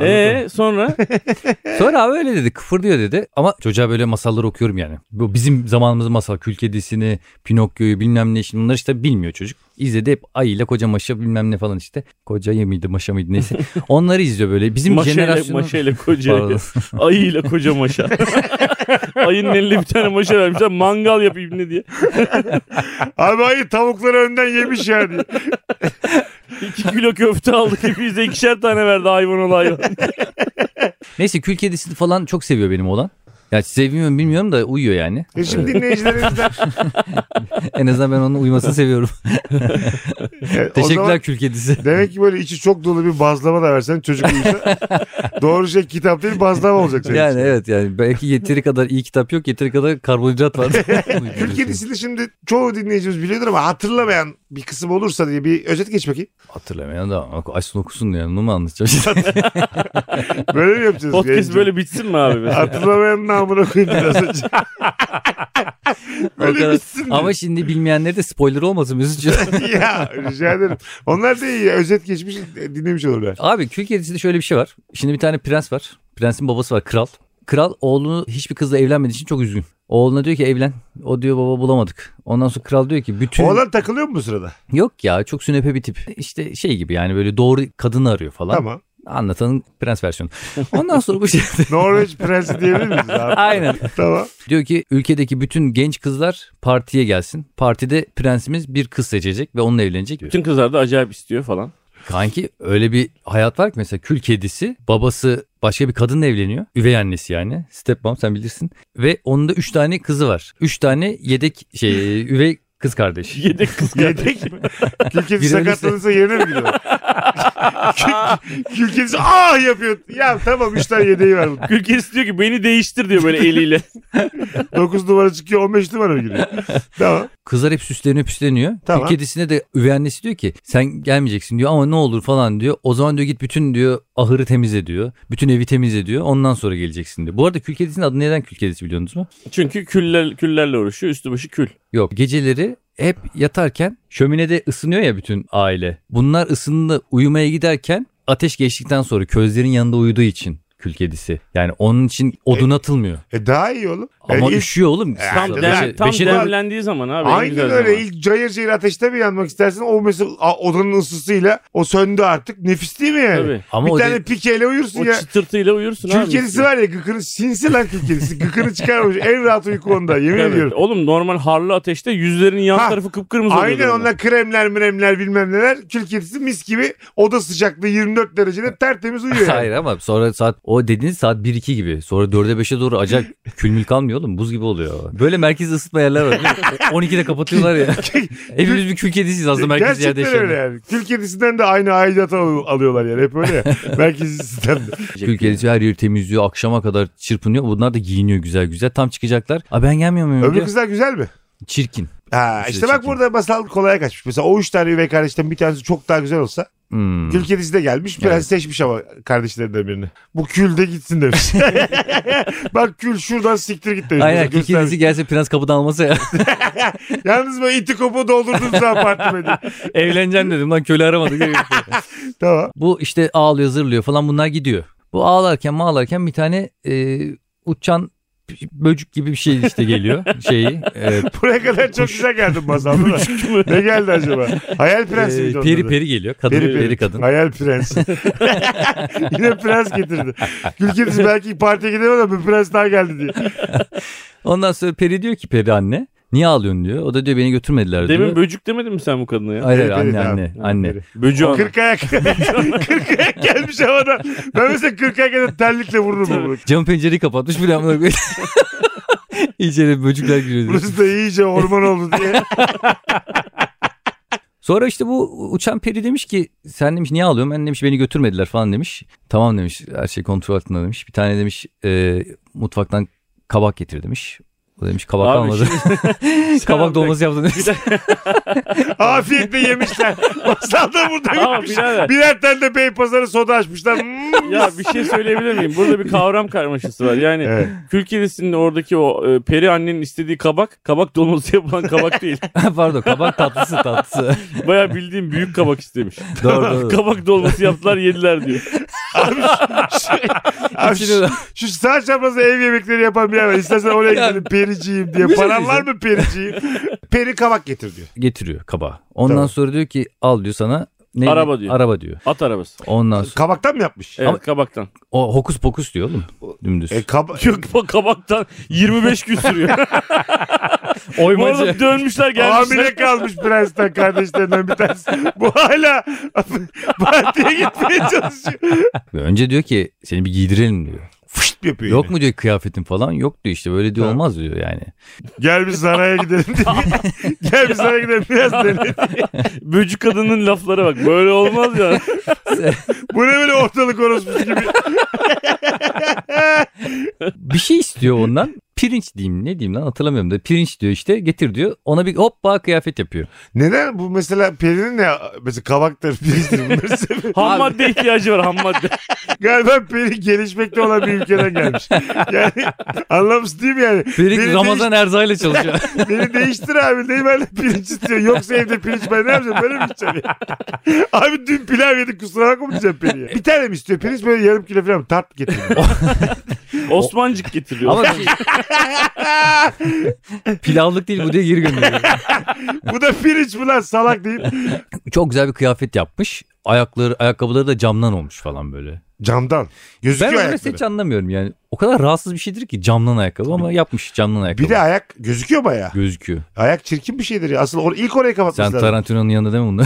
Speaker 2: Ee sonra
Speaker 3: Sonra abi öyle dedi kıfır diyor dedi ama çocuğa böyle masallar okuyorum yani. Bu bizim zamanımızın masal Kül Kedisi'ni, Pinokyo'yu bilmem ne şimdi bunları işte bilmiyor çocuk. İzledi hep ayıyla koca maşa bilmem ne falan işte. Koca ye miydi maşa mıydı neyse. Onları izliyor böyle. Bizim
Speaker 2: maşayla,
Speaker 3: jenerasyonun...
Speaker 2: maşayla koca
Speaker 3: Pardon.
Speaker 2: ayıyla koca maşa. Ayının eline bir tane maşa vermişler mangal yap ibni diye.
Speaker 1: Abi ayı tavukları önden yemiş yani.
Speaker 2: İki kilo köfte aldık hepimize ikişer tane verdi hayvan ol hayvan.
Speaker 3: Neyse Kül Kedisi'ni falan çok seviyor benim olan. Ya sevmiyorum bilmiyorum da uyuyor yani.
Speaker 1: E şimdi dinleyicilerimizden.
Speaker 3: en azından ben onun uyumasını seviyorum.
Speaker 1: E, o
Speaker 3: Teşekkürler
Speaker 1: zaman
Speaker 3: Kül Kedisi.
Speaker 1: Demek ki böyle içi çok dolu bir bazlama da versen çocuk uyusa doğru şey kitap değil bazlama olacak senin
Speaker 3: Yani
Speaker 1: Şey için.
Speaker 3: evet yani belki yeteri kadar iyi kitap yok yeteri kadar karbonhidrat var.
Speaker 1: Kül kedisini şimdi çoğu dinleyicimiz biliyordur ama hatırlamayan bir kısım olursa diye bir özet geç bakayım.
Speaker 3: Hatırlamayan da açsın okusun yani onu mu anlatacağım?
Speaker 1: Böyle mi yapacağız?
Speaker 2: Podcast
Speaker 1: Yayıncı-
Speaker 2: böyle şey. bitsin mi abi? mesela?
Speaker 1: Hatırlamayanın namına koyayım biraz önce.
Speaker 3: O
Speaker 1: böyle
Speaker 3: kadar.
Speaker 1: bitsin.
Speaker 3: Ama şimdi bilmeyenlere de spoiler olmasın Mesut'cuğum.
Speaker 1: ya rica ederim. Onlar da iyi. Özet geçmiş dinlemiş olurlar.
Speaker 3: Abi Kül Kedisi'nde şöyle bir şey var. Şimdi bir tane prens var. Prensin babası var kral. Kral oğlunu hiçbir kızla evlenmediği için çok üzgün. Oğluna diyor ki evlen. O diyor baba bulamadık. Ondan sonra kral diyor ki
Speaker 2: Şey-
Speaker 3: bütün...
Speaker 1: Oğlan takılıyor mu bu sırada?
Speaker 3: Yok ya çok sünepe bir tip. İşte şey gibi yani böyle doğru kadını arıyor falan.
Speaker 1: Tamam.
Speaker 3: Anlatanın prens versiyonu. Ondan sonra bu şey...
Speaker 1: Norveç prensi diyebilir miyiz abi?
Speaker 3: Aynen.
Speaker 1: Tamam.
Speaker 3: Diyor ki ülkedeki bütün genç kızlar partiye gelsin. Partide prensimiz bir kız seçecek ve onunla evlenecek.
Speaker 2: Bütün kızlar da acayip istiyor falan.
Speaker 3: Kanki öyle bir hayat var ki mesela kül kedisi babası başka bir kadınla evleniyor. Üvey annesi yani. Stepmom sen bilirsin. Ve onun da 3 tane kızı var. 3 tane yedek şey üvey kız kardeş.
Speaker 2: Yedek kız kardeş.
Speaker 1: Yedek mi? Kül kedisi
Speaker 3: Biri ölürse-
Speaker 1: sakatlanırsa yerine mi gidiyor? Kül- Kül kedisi ah yapıyor. Ya tamam 3 tane yedeği var. bunun.
Speaker 2: Gülkes diyor ki beni değiştir diyor böyle eliyle.
Speaker 1: 9 numara çıkıyor 15 numara mı giriyor? Tamam.
Speaker 3: Kızlar hep süsleniyor püsleniyor.
Speaker 1: Tamam.
Speaker 3: Kül kedisine de üvey annesi diyor ki sen gelmeyeceksin diyor ama ne olur falan diyor. O zaman diyor git bütün diyor ahırı temizle diyor. Bütün evi temizle diyor. Ondan sonra geleceksin diyor. Bu arada kül kedisinin adı neden kül kedisi biliyorsunuz mu?
Speaker 2: Çünkü küller, küllerle uğraşıyor üstü başı kül.
Speaker 3: Yok geceleri hep yatarken şöminede ısınıyor ya bütün aile. Bunlar ısındı uyumaya giderken ateş geçtikten sonra közlerin yanında uyuduğu için kül kedisi. Yani onun için odun atılmıyor.
Speaker 1: E daha iyi oğlum. E,
Speaker 3: Ama
Speaker 1: ilk-
Speaker 3: üşüyor oğlum.
Speaker 2: Tam,
Speaker 1: Yani
Speaker 2: dem,
Speaker 1: ben-
Speaker 2: tam
Speaker 3: beşe-
Speaker 2: demlendiği zaman abi. en
Speaker 1: Aynen
Speaker 2: güzel
Speaker 1: öyle.
Speaker 2: zaman.
Speaker 1: İlk cayır cayır ateşte mi yanmak istersin? O mesela a- odanın ısısıyla o söndü artık. Nefis değil mi yani?
Speaker 2: Tabii.
Speaker 3: ama
Speaker 1: bir
Speaker 3: o de-
Speaker 1: tane pikeyle uyursun
Speaker 2: O
Speaker 1: ya.
Speaker 2: çıtırtıyla uyursun abi.
Speaker 1: Kül kedisi var ya gıkını sinsi lan kül kedisi. Gıkını çıkarmış. En rahat uyku onda yemin
Speaker 2: Evet.
Speaker 1: ediyorum.
Speaker 2: Oğlum normal harlı ateşte yüzlerinin yan
Speaker 1: Ha.
Speaker 2: tarafı kıpkırmızı oluyor.
Speaker 1: Aynen
Speaker 2: diyorlar.
Speaker 1: onlar kremler mremler bilmem neler. Kül kedisi mis gibi oda sıcaklığı 24 derecede tertemiz uyuyor. yani.
Speaker 3: Hayır ama sonra saat o dediğiniz saat 1-2 gibi. Sonra 4'e 5'e doğru acayip külmül kalmıyor oğlum. Buz gibi oluyor. Böyle merkez ısıtma yerler var. değil mi? 12'de kapatıyorlar ya. Hepimiz bir kül kedisiyiz aslında merkez yerde
Speaker 1: Gerçekten öyle
Speaker 3: yaşayan.
Speaker 1: yani. Kül kedisinden de aynı aidatı al- alıyorlar yani. Hep öyle ya. Merkezi sistemde.
Speaker 3: Kül kedisi her yeri temizliyor. Akşama kadar çırpınıyor. Bunlar da giyiniyor güzel güzel. Tam çıkacaklar. Aa ben gelmiyor muyum?
Speaker 1: Öbür
Speaker 3: diyor.
Speaker 1: kızlar güzel mi?
Speaker 3: Çirkin.
Speaker 1: Ha,
Speaker 3: Güzel,
Speaker 1: işte bak
Speaker 3: çirkin.
Speaker 1: burada masal kolaya kaçmış. Mesela o üç tane üvey kardeşten bir tanesi çok daha güzel olsa
Speaker 3: Hmm.
Speaker 1: Kül kedisi de gelmiş. Prens seçmiş ama kardeşlerinden birini. Bu kül de gitsin demiş. Bak kül şuradan siktir git demiş.
Speaker 3: Aynen kül
Speaker 1: Göstermiş.
Speaker 3: kedisi gelse prens kapıdan almasa ya.
Speaker 1: Yalnız böyle iti kopu doldurdum sen apartmanı.
Speaker 3: Evleneceğim dedim lan köle aramadık.
Speaker 1: tamam.
Speaker 3: Bu işte ağlıyor zırlıyor falan bunlar gidiyor. Bu ağlarken mağlarken bir tane e, uçan böcük gibi bir şey işte geliyor. Şeyi. E,
Speaker 1: Buraya kadar çok güzel geldin masalda da. ne geldi acaba? Hayal prensi miydi
Speaker 3: e,
Speaker 1: onun
Speaker 3: peri
Speaker 1: adı?
Speaker 3: peri geliyor. Kadın peri, kadın.
Speaker 1: Hayal prensi. Yine prens getirdi. Gül kedisi belki partiye gidemedi ama bir prens daha geldi diye.
Speaker 3: Ondan sonra peri diyor ki peri anne. Niye ağlıyorsun diyor. O da diyor beni götürmediler diyor.
Speaker 2: Demin böcük demedin mi sen bu kadına ya?
Speaker 3: Hayır hayır,
Speaker 1: Peri,
Speaker 3: anne
Speaker 1: peri,
Speaker 3: anne
Speaker 2: tamam.
Speaker 3: anne.
Speaker 1: Peri.
Speaker 2: Böcü ana.
Speaker 1: Kırk ayak. kırk ayak gelmiş havada. Ben mesela kırk ayak eden terlikle vururum bunu.
Speaker 3: Cam pencereyi kapatmış bile amına koyayım. İçeri böcekler giriyor. diyor.
Speaker 1: Burası da iyice orman oldu diye.
Speaker 3: Sonra işte bu uçan peri demiş ki sen demiş niye ağlıyorsun? Ben demiş beni götürmediler falan demiş. Tamam demiş her şey kontrol altında demiş. Bir tane demiş e, mutfaktan kabak getir demiş. O demiş kabak
Speaker 2: Abi
Speaker 3: almadı. kabak dolması yaptı demiş.
Speaker 2: Bir de-
Speaker 1: Afiyetle yemişler. Masalda burada
Speaker 2: Ama
Speaker 1: yemişler.
Speaker 2: birader.
Speaker 1: Birer tane de Beypazarı soda açmışlar. Hmm.
Speaker 2: Ya bir şey söyleyebilir miyim? Burada bir kavram karmaşası var. Yani
Speaker 1: Evet.
Speaker 2: Kül kedisinin oradaki o e, peri annenin istediği kabak, kabak dolması yapılan kabak değil.
Speaker 3: Pardon kabak tatlısı tatlısı.
Speaker 2: Bayağı bildiğim büyük kabak istemiş.
Speaker 3: doğru doğru.
Speaker 2: kabak dolması yaptılar yediler diyor.
Speaker 1: Abi
Speaker 3: İçine-
Speaker 1: şu, şu sağ çaprazda ev yemekleri yapan bir yer var. İstersen oraya gidelim periciyim diye.
Speaker 3: Bir şey
Speaker 1: Paran var mı periciyim? Peri kabak getir diyor.
Speaker 3: Getiriyor kabağı. Ondan
Speaker 1: Tamam.
Speaker 3: sonra diyor ki al diyor sana. Ne,
Speaker 2: Araba diyor.
Speaker 3: Araba diyor.
Speaker 2: At arabası.
Speaker 3: Ondan sonra
Speaker 1: Kabaktan mı yapmış?
Speaker 2: Evet
Speaker 3: Ama-
Speaker 2: kabaktan.
Speaker 3: o hokus pokus diyor oğlum. Dümdüz.
Speaker 1: E, kaba-
Speaker 2: Yok bak kabaktan 25 gün sürüyor. Bu arada dönmüşler gelmişler.
Speaker 1: Hamile kalmış prensten kardeşlerinden bir tanesi. Bu hala partiye gitmeye çalışıyor.
Speaker 3: Önce diyor ki seni bir giydirelim diyor.
Speaker 1: Fışt yapıyor.
Speaker 3: Yok
Speaker 1: yine.
Speaker 3: mu diyor kıyafetin falan? Yok diyor işte böyle diyor
Speaker 1: Tamam.
Speaker 3: olmaz diyor yani.
Speaker 1: Gel biz saraya gidelim diye. Gel biz saraya gidelim biraz dene.
Speaker 2: Böcü kadının laflara bak. Böyle olmaz ya.
Speaker 1: Bu ne böyle ortalık orospusu gibi.
Speaker 3: Bir şey istiyor ondan. Pirinç diyeyim ne diyeyim lan hatırlamıyorum da pirinç diyor işte getir diyor. Ona bir hoppa kıyafet yapıyor.
Speaker 1: Neden bu mesela perinin ne? Mesela kabaktır, pirinçtir bunları seviyor.
Speaker 2: Ham madde ihtiyacı var ham madde.
Speaker 1: Galiba peri gelişmekte olan bir ülkeden gelmiş. Yani anlamış değil mi yani?
Speaker 3: Pirinç
Speaker 1: Beni
Speaker 3: Ramazan Erzağ'ıyla çalışıyor.
Speaker 1: Beni değiştir abi. Değil ben de pirinç istiyor. Yoksa evde pirinç ben ne yapacağım? Böyle mi içeceğim ya? Abi dün pilav yedik kusura bakma mı diyeceğim periye? Bir tane mi istiyor? Pirinç böyle yarım kilo falan tart getiriyor.
Speaker 2: Osmancık getiriyor.
Speaker 3: Ama bir- pilavlık değil bu diye geri gönderiyor.
Speaker 1: Bu da pirinç mi lan salak deyip.
Speaker 3: Çok güzel bir kıyafet yapmış. Ayakları, ayakkabıları da camdan olmuş falan böyle.
Speaker 1: Camdan.
Speaker 3: Ben
Speaker 1: Gözüküyor
Speaker 3: onu mesela
Speaker 1: ayakları.
Speaker 3: hiç anlamıyorum yani. O kadar rahatsız bir şeydir ki camdan ayakkabı ama yapmış camdan ayakkabı.
Speaker 1: Bir de ayak gözüküyor baya.
Speaker 3: gözüküyor.
Speaker 1: Ayak çirkin bir şeydir ya. Asıl or- ilk orayı
Speaker 3: Sen
Speaker 1: kapatması lazım.
Speaker 3: Tarantino'nun yanında değil mi bunu?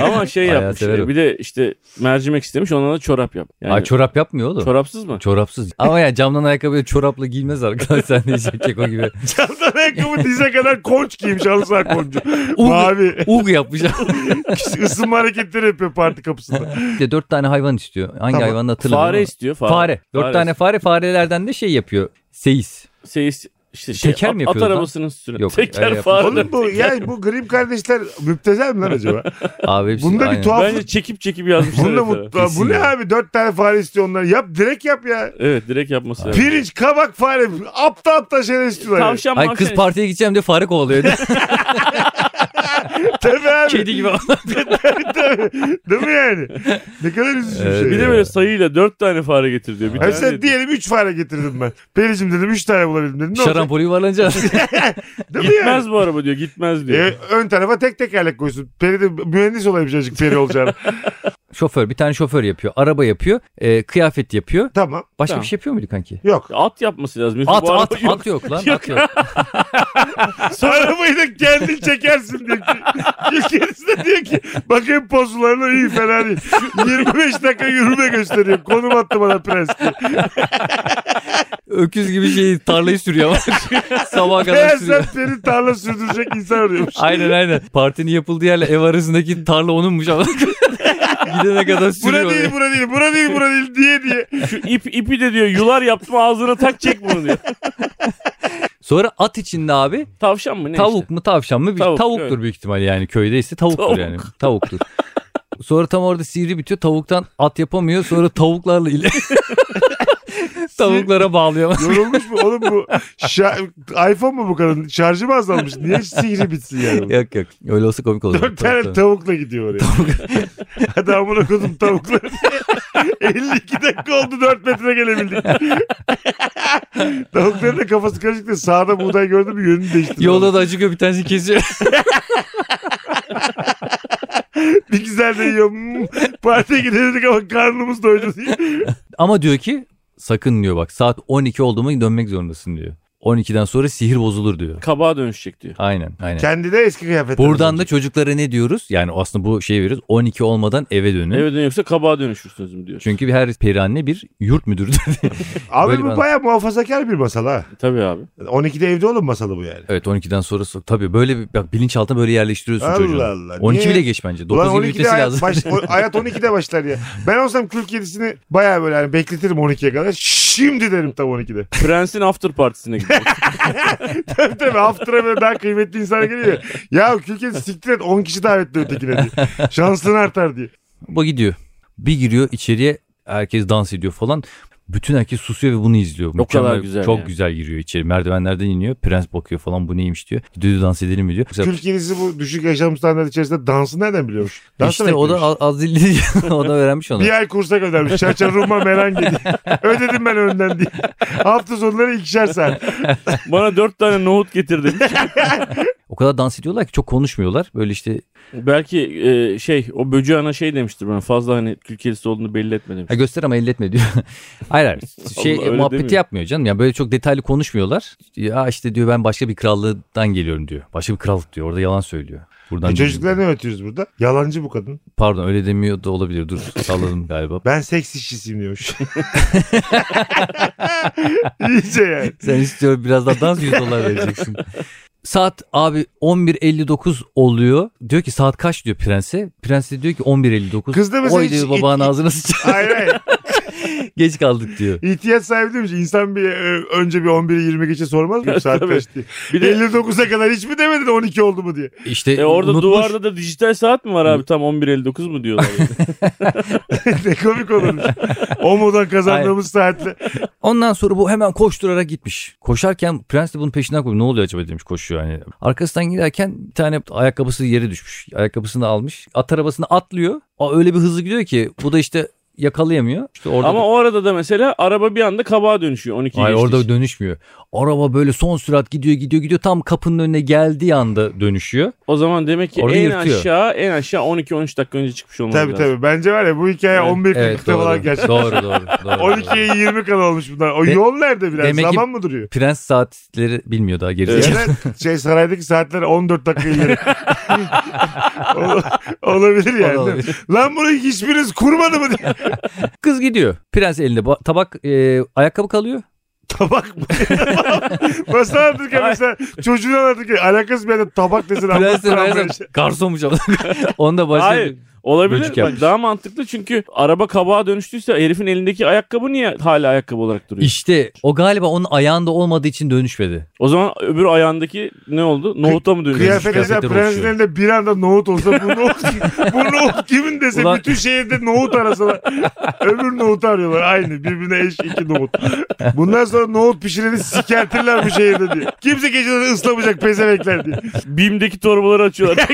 Speaker 2: Ama şey
Speaker 3: Bayağı
Speaker 2: yapmış.
Speaker 3: severim.
Speaker 2: Bir de işte mercimek istemiş ona da çorap yap. Yani
Speaker 3: Ay çorap yapmıyor oğlum.
Speaker 2: çorapsız mı?
Speaker 3: Çorapsız. Ama ya camdan ayakkabıyla çorapla giyilmez arkadaş. Sen de işte keko gibi.
Speaker 1: Camdan ayakkabı dize kadar konç giymiş halı saha koncu. Mavi.
Speaker 3: Ug yapmış.
Speaker 1: Isınma hareketleri yapıyor parti kapısında.
Speaker 3: İşte dört tane hayvan istiyor. Hangi
Speaker 1: Tamam.
Speaker 3: hayvanı hatırlamıyorum.
Speaker 2: Fare
Speaker 3: ama.
Speaker 2: istiyor fare.
Speaker 3: Fare. Dört
Speaker 2: Fare
Speaker 3: tane fare. Farelerden de şey yapıyor. Seyis.
Speaker 2: Seyis işte şey,
Speaker 3: Teker
Speaker 2: at,
Speaker 3: mi
Speaker 2: at
Speaker 3: yapıyordu lan?
Speaker 2: arabasının üstüne.
Speaker 3: Yok, öyle
Speaker 2: Teker
Speaker 3: yapmıyor.
Speaker 2: fare.
Speaker 1: Oğlum bu yani bu grim kardeşler müptezel mi lan acaba?
Speaker 3: Abi hepsi
Speaker 1: Bunda
Speaker 3: aynı.
Speaker 1: bir tuhaflık
Speaker 2: Bence çekip çekip yazmışlar.
Speaker 1: Bunu da
Speaker 2: evet,
Speaker 1: mutlu. Bu ne
Speaker 3: Kesin.
Speaker 1: abi? Dört tane fare istiyor onlar. Yap direkt yap ya.
Speaker 2: Evet direkt yapması lazım.
Speaker 1: Pirinç, kabak, fare. Apta apta şeyler istiyorlar. yani.
Speaker 2: Tavşan
Speaker 3: Ay
Speaker 2: mavşan
Speaker 3: kız partiye gideceğim diye fare kovalıyor.
Speaker 1: Tabii abi.
Speaker 3: Kedi gibi.
Speaker 1: Tabii. Değil mi yani? Ne kadar üzücü bir
Speaker 3: Evet.
Speaker 1: şey.
Speaker 2: Bir de
Speaker 1: ya.
Speaker 2: böyle sayıyla dört tane fare getir diyor. Bir
Speaker 1: Hayır,
Speaker 2: tane
Speaker 1: sen diyelim üç fare getirdim ben. Pericim dedim üç tane bulabildim dedim. Ne olacak?
Speaker 3: Şarampolu yuvarlanacağız.
Speaker 1: Değil mi yani?
Speaker 2: Gitmez bu araba diyor gitmez diyor.
Speaker 1: E, ön tarafa tek tekerlek koysun. Peri de mühendis olayım çocuk peri olacağını.
Speaker 3: şoför. Bir tane şoför yapıyor. Araba yapıyor. e, kıyafet yapıyor.
Speaker 1: tamam.
Speaker 3: Başka
Speaker 2: Tamam.
Speaker 3: bir şey yapıyor muydu kanki?
Speaker 1: Yok.
Speaker 2: At yapması lazım. Yoksa
Speaker 3: At
Speaker 2: bu
Speaker 3: at
Speaker 2: araba yok.
Speaker 3: at yok lan.
Speaker 2: Yok.
Speaker 3: At yok.
Speaker 1: Arabayı da kendin çekersin diyor ki. Ülkeniz de diyor ki bakayım pozularına iyi fena değil. 25 dakika yürüme gösteriyor. Konum attı bana prens diye.
Speaker 3: Öküz gibi şey tarlayı sürüyor ama. Sabaha kadar
Speaker 1: Eğer
Speaker 3: sürüyor.
Speaker 1: sen beni tarla sürdürecek insan arıyormuş.
Speaker 3: Aynen aynen. Partinin yapıldığı yerle ev arasındaki tarla onunmuş ama. Gidene kadar sürüyor.
Speaker 1: Bura değil, bura değil, bura değil, bura değil diye diye.
Speaker 2: Şu ip, ipi de diyor yular yaptım ağzına tak çek bunu diyor.
Speaker 3: Sonra at içinde abi
Speaker 2: Tavşan mı ne
Speaker 3: tavuk
Speaker 2: işte?
Speaker 3: mu tavşan mı? Bir-
Speaker 2: Tavuk,
Speaker 3: tavuktur
Speaker 2: evet.
Speaker 3: büyük ihtimalle yani köydeyse tavuktur
Speaker 2: Tavuk.
Speaker 3: yani. Tavuktur. Sonra tam orada sivri bitiyor. Tavuktan at yapamıyor. Sonra tavuklarla ile tavuklara bağlıyor.
Speaker 1: Yorulmuş mu oğlum bu? Şa- iPhone mu bu kadın? Şarjı mı azalmış? Niye sihri bitsin yani?
Speaker 3: yok yok. Öyle olsa komik olur.
Speaker 1: Dört tane tavukla gidiyor oraya. Hadi amına kodum tavukları. 52 dakika oldu 4 metre gelebildik. Tavukların da kafası karışık da sağda buğday gördüm mü yönünü değiştirdi.
Speaker 3: Yolda da acıkıyor bir tanesi kesiyor.
Speaker 1: Bir güzel de yiyor. Hmm, Partiye gidemedik ama karnımız doydu diye.
Speaker 3: Ama diyor ki sakın diyor bak saat 12 oldu mu dönmek zorundasın diyor. 12'den sonra sihir bozulur diyor.
Speaker 2: Kabağa dönüşecek diyor.
Speaker 3: Aynen aynen.
Speaker 1: Kendi de eski kıyafetler.
Speaker 3: Buradan da
Speaker 1: olacak.
Speaker 3: çocuklara ne diyoruz? Yani aslında bu şeyi veriyoruz. 12 olmadan eve dönün.
Speaker 2: Eve dönüyorsa kabağa dönüşür sözüm diyor.
Speaker 3: Çünkü her peri anne bir yurt müdürüdür.
Speaker 1: Abi
Speaker 3: Böyle
Speaker 1: bu
Speaker 3: ben-
Speaker 1: baya muhafazakar bir masal ha.
Speaker 2: Tabii abi.
Speaker 1: 12'de evde olun masalı bu yani.
Speaker 3: evet 12'den sonrası tabii böyle bir bak bilinçaltına böyle yerleştiriyorsun
Speaker 1: Allah
Speaker 3: çocuğu.
Speaker 1: Allah.
Speaker 3: 12
Speaker 1: Niye?
Speaker 3: bile geç bence. 9
Speaker 1: Ulan
Speaker 3: gibi
Speaker 1: 12'de
Speaker 3: bitmesi
Speaker 1: hayat,
Speaker 3: lazım.
Speaker 1: baş, o- hayat 12'de başlar ya. Ben olsam kül kedisini baya böyle hani bekletirim 12'ye kadar. Şimdi derim tam 12'de.
Speaker 2: Prensin after partisine gidiyor.
Speaker 1: Tabii tabii haftada böyle daha kıymetli insan geliyor. ya. Ya kül kedisi siktir et 10 kişi davetli ötekine diye. Şansın artar diye.
Speaker 3: Bu gidiyor. Bir giriyor içeriye herkes dans ediyor falan. Bütün herkes susuyor ve bunu izliyor.
Speaker 2: O kadar güzel
Speaker 3: Çok
Speaker 2: yani.
Speaker 3: güzel giriyor içeri. Merdivenlerden iniyor. Prens bakıyor falan bu neymiş diyor. Düdü dans edelim mi diyor. Mesela-
Speaker 1: Kül kedisi bu düşük yaşam standartı içerisinde dansı nereden biliyormuş? Dans
Speaker 3: işte o da
Speaker 1: bekliyormuş.
Speaker 3: az- az dilli o da öğrenmiş onu.
Speaker 1: bir ay kursa göndermiş. Çarçar Ruma Merangi diye. Ödedim ben önden diye. Hafta sonları ikişer saat.
Speaker 2: Bana dört tane nohut getir demiş.
Speaker 3: O kadar dans ediyorlar ki çok konuşmuyorlar. Böyle işte
Speaker 2: Belki e, şey o böcü ana şey demiştir bana fazla hani kül kedisi olduğunu belli etme demiş.
Speaker 3: ha, göster ama elletme diyor. hayır hayır. Şey
Speaker 2: öyle
Speaker 3: muhabbeti
Speaker 2: demiyor.
Speaker 3: yapmıyor canım. Yani böyle çok detaylı konuşmuyorlar. Ya işte diyor ben başka bir krallığından geliyorum diyor. Başka bir krallık diyor. Orada yalan söylüyor. Buradan
Speaker 1: E çocuklara ne öğretiyoruz burada? Yalancı bu kadın.
Speaker 3: Pardon öyle demiyor da olabilir. Dur salladım galiba.
Speaker 1: Ben seks işçisiyim diyormuş. İyice yani.
Speaker 3: Sen istiyorum biraz daha dans 100 dolar vereceksin. Saat abi 11.59 oluyor. Diyor ki saat kaç diyor prense. Prens de diyor ki 11.59.
Speaker 1: Kız da mesela
Speaker 3: Oy
Speaker 1: hiç-
Speaker 3: diyor babanın ağzına sıçar.
Speaker 1: Hayır hayır.
Speaker 3: Geç kaldık diyor.
Speaker 1: İhtiyaç sahibi demiş. İnsan bir e, önce bir 11'i 20 geçe sormaz mı? Saat
Speaker 2: Tabii.
Speaker 1: kaç diye.
Speaker 2: Bir de
Speaker 1: 59'a kadar hiç mi demedin 12 oldu mu diye.
Speaker 3: İşte
Speaker 2: e, orada
Speaker 3: unutmuş.
Speaker 2: duvarda da dijital saat mi var abi tam 11.59 mu diyorlar. yani.
Speaker 1: ne komik olurmuş. Omo'dan kazandığımız saatle.
Speaker 3: Ondan sonra bu hemen koşturarak gitmiş. Koşarken prens de bunun peşinden koyuyor. Ne oluyor acaba demiş koşuyor yani. Arkasından giderken bir tane ayakkabısı yere düşmüş. Ayakkabısını almış. At arabasına atlıyor. Aa, öyle bir hızlı gidiyor ki bu da işte yakalayamıyor. İşte orada
Speaker 2: Ama o arada da mesela araba bir anda kabağa dönüşüyor 12
Speaker 3: Hayır
Speaker 2: geçtiği
Speaker 3: orada
Speaker 2: için.
Speaker 3: dönüşmüyor. Araba böyle son sürat gidiyor gidiyor gidiyor tam kapının önüne geldiği anda dönüşüyor.
Speaker 2: O zaman demek ki
Speaker 3: Orada
Speaker 2: en
Speaker 3: yırtıyor.
Speaker 2: aşağı en aşağı 12-13 dakika önce çıkmış olmalı
Speaker 1: tabii tabii. Bence var ya bu hikaye
Speaker 2: Evet,
Speaker 1: 11.40'da falan
Speaker 3: doğru.
Speaker 1: gerçekten.
Speaker 3: doğru doğru. doğru.
Speaker 1: 12'ye 20 kadar olmuş bunlar. O
Speaker 3: De-
Speaker 1: yol nerede biraz?
Speaker 3: Demek ki-
Speaker 1: Zaman mı duruyor?
Speaker 3: Prens saatleri bilmiyor daha gerisi.
Speaker 1: Evet. şey saraydaki saatler 14 dakika ileri. Ol- olabilir yani. değil mi? Lan bunu hiçbiriniz kurmadı mı diye.
Speaker 3: Kız gidiyor. Prens elinde ba- tabak e, ayakkabı kalıyor.
Speaker 1: Tabak mı? Nasıl anlattık ya mesela çocuğunu anlattık ya alakası bir yerde tabak desin. ama
Speaker 3: Prens de
Speaker 1: tamam
Speaker 3: meğerse
Speaker 1: böyle şey.
Speaker 3: garsonmuş ama. Onu da
Speaker 2: Hayır.
Speaker 3: başlıyor.
Speaker 2: Olabilir.
Speaker 3: Böcük
Speaker 2: Bak,
Speaker 3: yapmış.
Speaker 2: daha mantıklı çünkü araba kabağa dönüştüyse herifin elindeki ayakkabı niye hala ayakkabı olarak duruyor?
Speaker 3: İşte o galiba onun ayağında olmadığı için dönüşmedi.
Speaker 2: O zaman öbür ayağındaki ne oldu? Nohuta mı dönüyor?
Speaker 1: Kıyafet mesela
Speaker 3: kıyafetler
Speaker 1: prensin
Speaker 3: oluşuyor.
Speaker 1: elinde bir anda nohut olsa bu nohut, bu nohut kimin dese
Speaker 3: Ulan-
Speaker 1: bütün şehirde nohut arasalar. Öbür nohutu arıyorlar aynı birbirine eş iki nohut. Bundan sonra nohut pişireni sikertirler bu şehirde diye. Kimse geceleri ıslamayacak pezevekler diye.
Speaker 2: Bim'deki torbaları açıyorlar.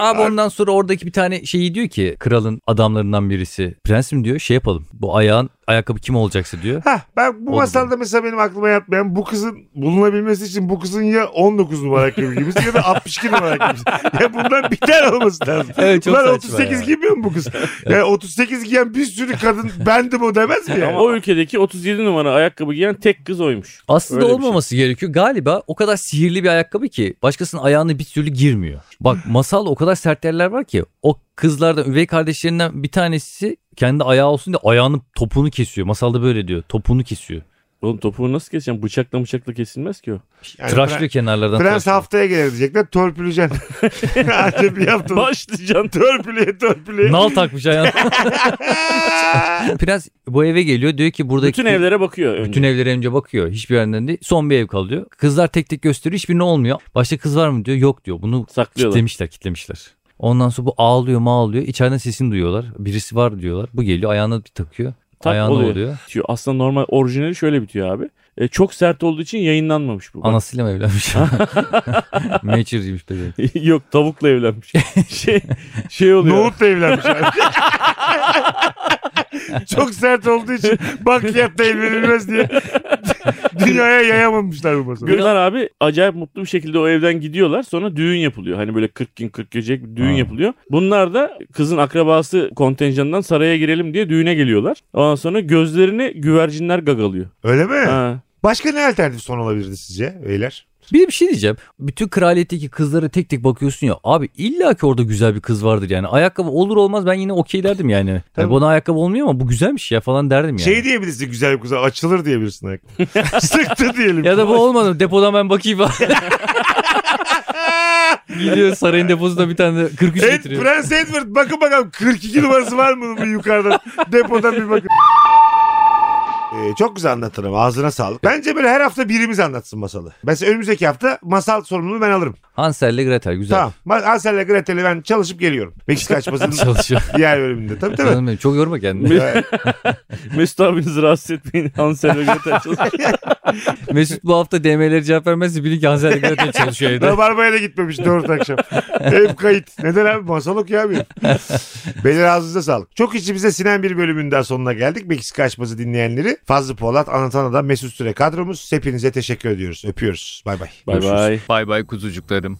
Speaker 3: Abi ondan sonra oradaki bir tane şeyi diyor ki kralın adamlarından birisi. Prensim diyor şey yapalım. Bu ayağın ayakkabı kim olacaksa diyor.
Speaker 1: Hah ben bu
Speaker 3: Oldu
Speaker 1: masalda mesela benim aklıma yatmayan bu kızın bulunabilmesi için bu kızın ya 19 numara ayakkabı giymesi ya da 62 numara ayakkabı giymesi. Ya bundan bir tane olması lazım.
Speaker 3: Evet, çok
Speaker 1: Ulan
Speaker 3: saçma
Speaker 1: 38
Speaker 3: ya.
Speaker 1: giymiyor mu bu kız? Yani 38 giyen bir sürü kadın bendim o demez mi
Speaker 2: Ama
Speaker 1: yani?
Speaker 2: o ülkedeki 37 numara ayakkabı giyen tek kız oymuş.
Speaker 3: Aslında
Speaker 2: Öyle bir şey.
Speaker 3: olmaması gerekiyor. Galiba o kadar sihirli bir ayakkabı ki başkasının ayağına bir türlü girmiyor. Bak masal o kadar sert yerler var ki o kızlardan üvey kardeşlerinden bir tanesi kendi ayağı olsun diye ayağının topunu kesiyor. Masalda böyle diyor. Topunu kesiyor.
Speaker 2: Oğlum topuğu nasıl keseceğim? Bıçakla bıçakla kesilmez ki o.
Speaker 1: Yani
Speaker 3: tıraşlıyor kenarlardan.
Speaker 1: Prens
Speaker 3: tıraşlıyor.
Speaker 1: haftaya gelir diyecekler törpüleceksin. Anca bir hafta.
Speaker 2: Başlayacaksın.
Speaker 1: Törpüleye törpüleye.
Speaker 3: Nal takmış ayağına. Prens bu eve geliyor diyor ki buradaki
Speaker 2: Bütün evlere bakıyor önce.
Speaker 3: Bütün evlere önce bakıyor. Hiçbir yerinden değil. Son bir ev kalıyor. Kızlar tek tek gösteriyor. Hiçbirine olmuyor. Başka kız var mı diyor. Yok diyor. Bunu
Speaker 2: Saklıyorlar.
Speaker 3: Kitlemişler kitlemişler. Ondan sonra bu ağlıyor mağlıyor. İçeriden sesini duyuyorlar. Birisi var diyorlar. Bu geliyor ayağına bir takıyor.
Speaker 2: Tak
Speaker 3: ayağına
Speaker 2: oluyor.
Speaker 3: oluyor.
Speaker 2: Bitiyor. Aslında normal orijinali şöyle bitiyor abi. E, çok sert olduğu için yayınlanmamış bu.
Speaker 3: Anasıyla mı evlenmiş? Matureymiş bebeğim.
Speaker 2: Yok tavukla evlenmiş. şey şey oluyor.
Speaker 1: Nohut da evlenmiş abi. Çok sert olduğu için bakliyatta evlenilmez diye dünyaya yayamamışlar bu masalı.
Speaker 2: Gülnar abi acayip mutlu bir şekilde o evden gidiyorlar. Sonra düğün yapılıyor. Hani böyle 40 gün 40 gece bir düğün
Speaker 3: Ha.
Speaker 2: yapılıyor. Bunlar da kızın akrabası kontenjanından saraya girelim diye düğüne geliyorlar. Ondan sonra gözlerini güvercinler gagalıyor.
Speaker 1: Öyle mi?
Speaker 2: Ha.
Speaker 1: Başka ne alternatif son olabilirdi sizce beyler?
Speaker 3: Bir de bir şey diyeceğim. Bütün kraliyetteki kızlara tek tek bakıyorsun ya. Abi illa ki orada güzel bir kız vardır yani. Ayakkabı olur olmaz ben yine okey derdim yani. yani
Speaker 1: Tabii.
Speaker 3: bana ayakkabı olmuyor ama bu güzelmiş ya falan derdim yani.
Speaker 1: Şey diyebilirsin güzel bir kız açılır diyebilirsin. ayakkabı. Sıktı diyelim.
Speaker 3: Ya da bu olmadı depodan ben bakayım falan. Gidiyor sarayın deposunda bir tane de 43
Speaker 1: Ed,
Speaker 3: getiriyor.
Speaker 1: Prens Edward bakın bakalım 42 numarası var mı bunun yukarıdan depodan bir bakın. Ee, çok güzel anlatırım ağzına sağlık. Bence böyle her hafta birimiz anlatsın masalı. Mesela önümüzdeki hafta masal sorumluluğu ben alırım.
Speaker 3: Hansel'le Gretel güzel.
Speaker 1: Tamam. Ma- Ansel'le Gretel'le ben çalışıp geliyorum. Meksika açmasının
Speaker 3: Çalışıyor.
Speaker 1: diğer bölümünde. Tabii tabii.
Speaker 3: Canım benim, çok yorma kendini.
Speaker 1: Ee,
Speaker 2: Mesut abinizi rahatsız etmeyin. Hansel ve Gretel çalışıyor.
Speaker 3: Mesut bu hafta DM'lere cevap vermezse bilin ki Hansel'le Gretel çalışıyor evde.
Speaker 1: Rabarba'ya da gitmemiş dört akşam. Hep kayıt. Neden abi? Masal okuyor abi. Beyler ağzınıza sağlık. Çok içimize sinen bir bölümün daha sonuna geldik. Meksika açması dinleyenleri Fazlı Polat, Anlatan Adam, Mesut Süre kadromuz. Hepinize teşekkür ediyoruz. Öpüyoruz. Bay bay.
Speaker 2: Bay bay.
Speaker 4: Bay bay kuzucuklarım.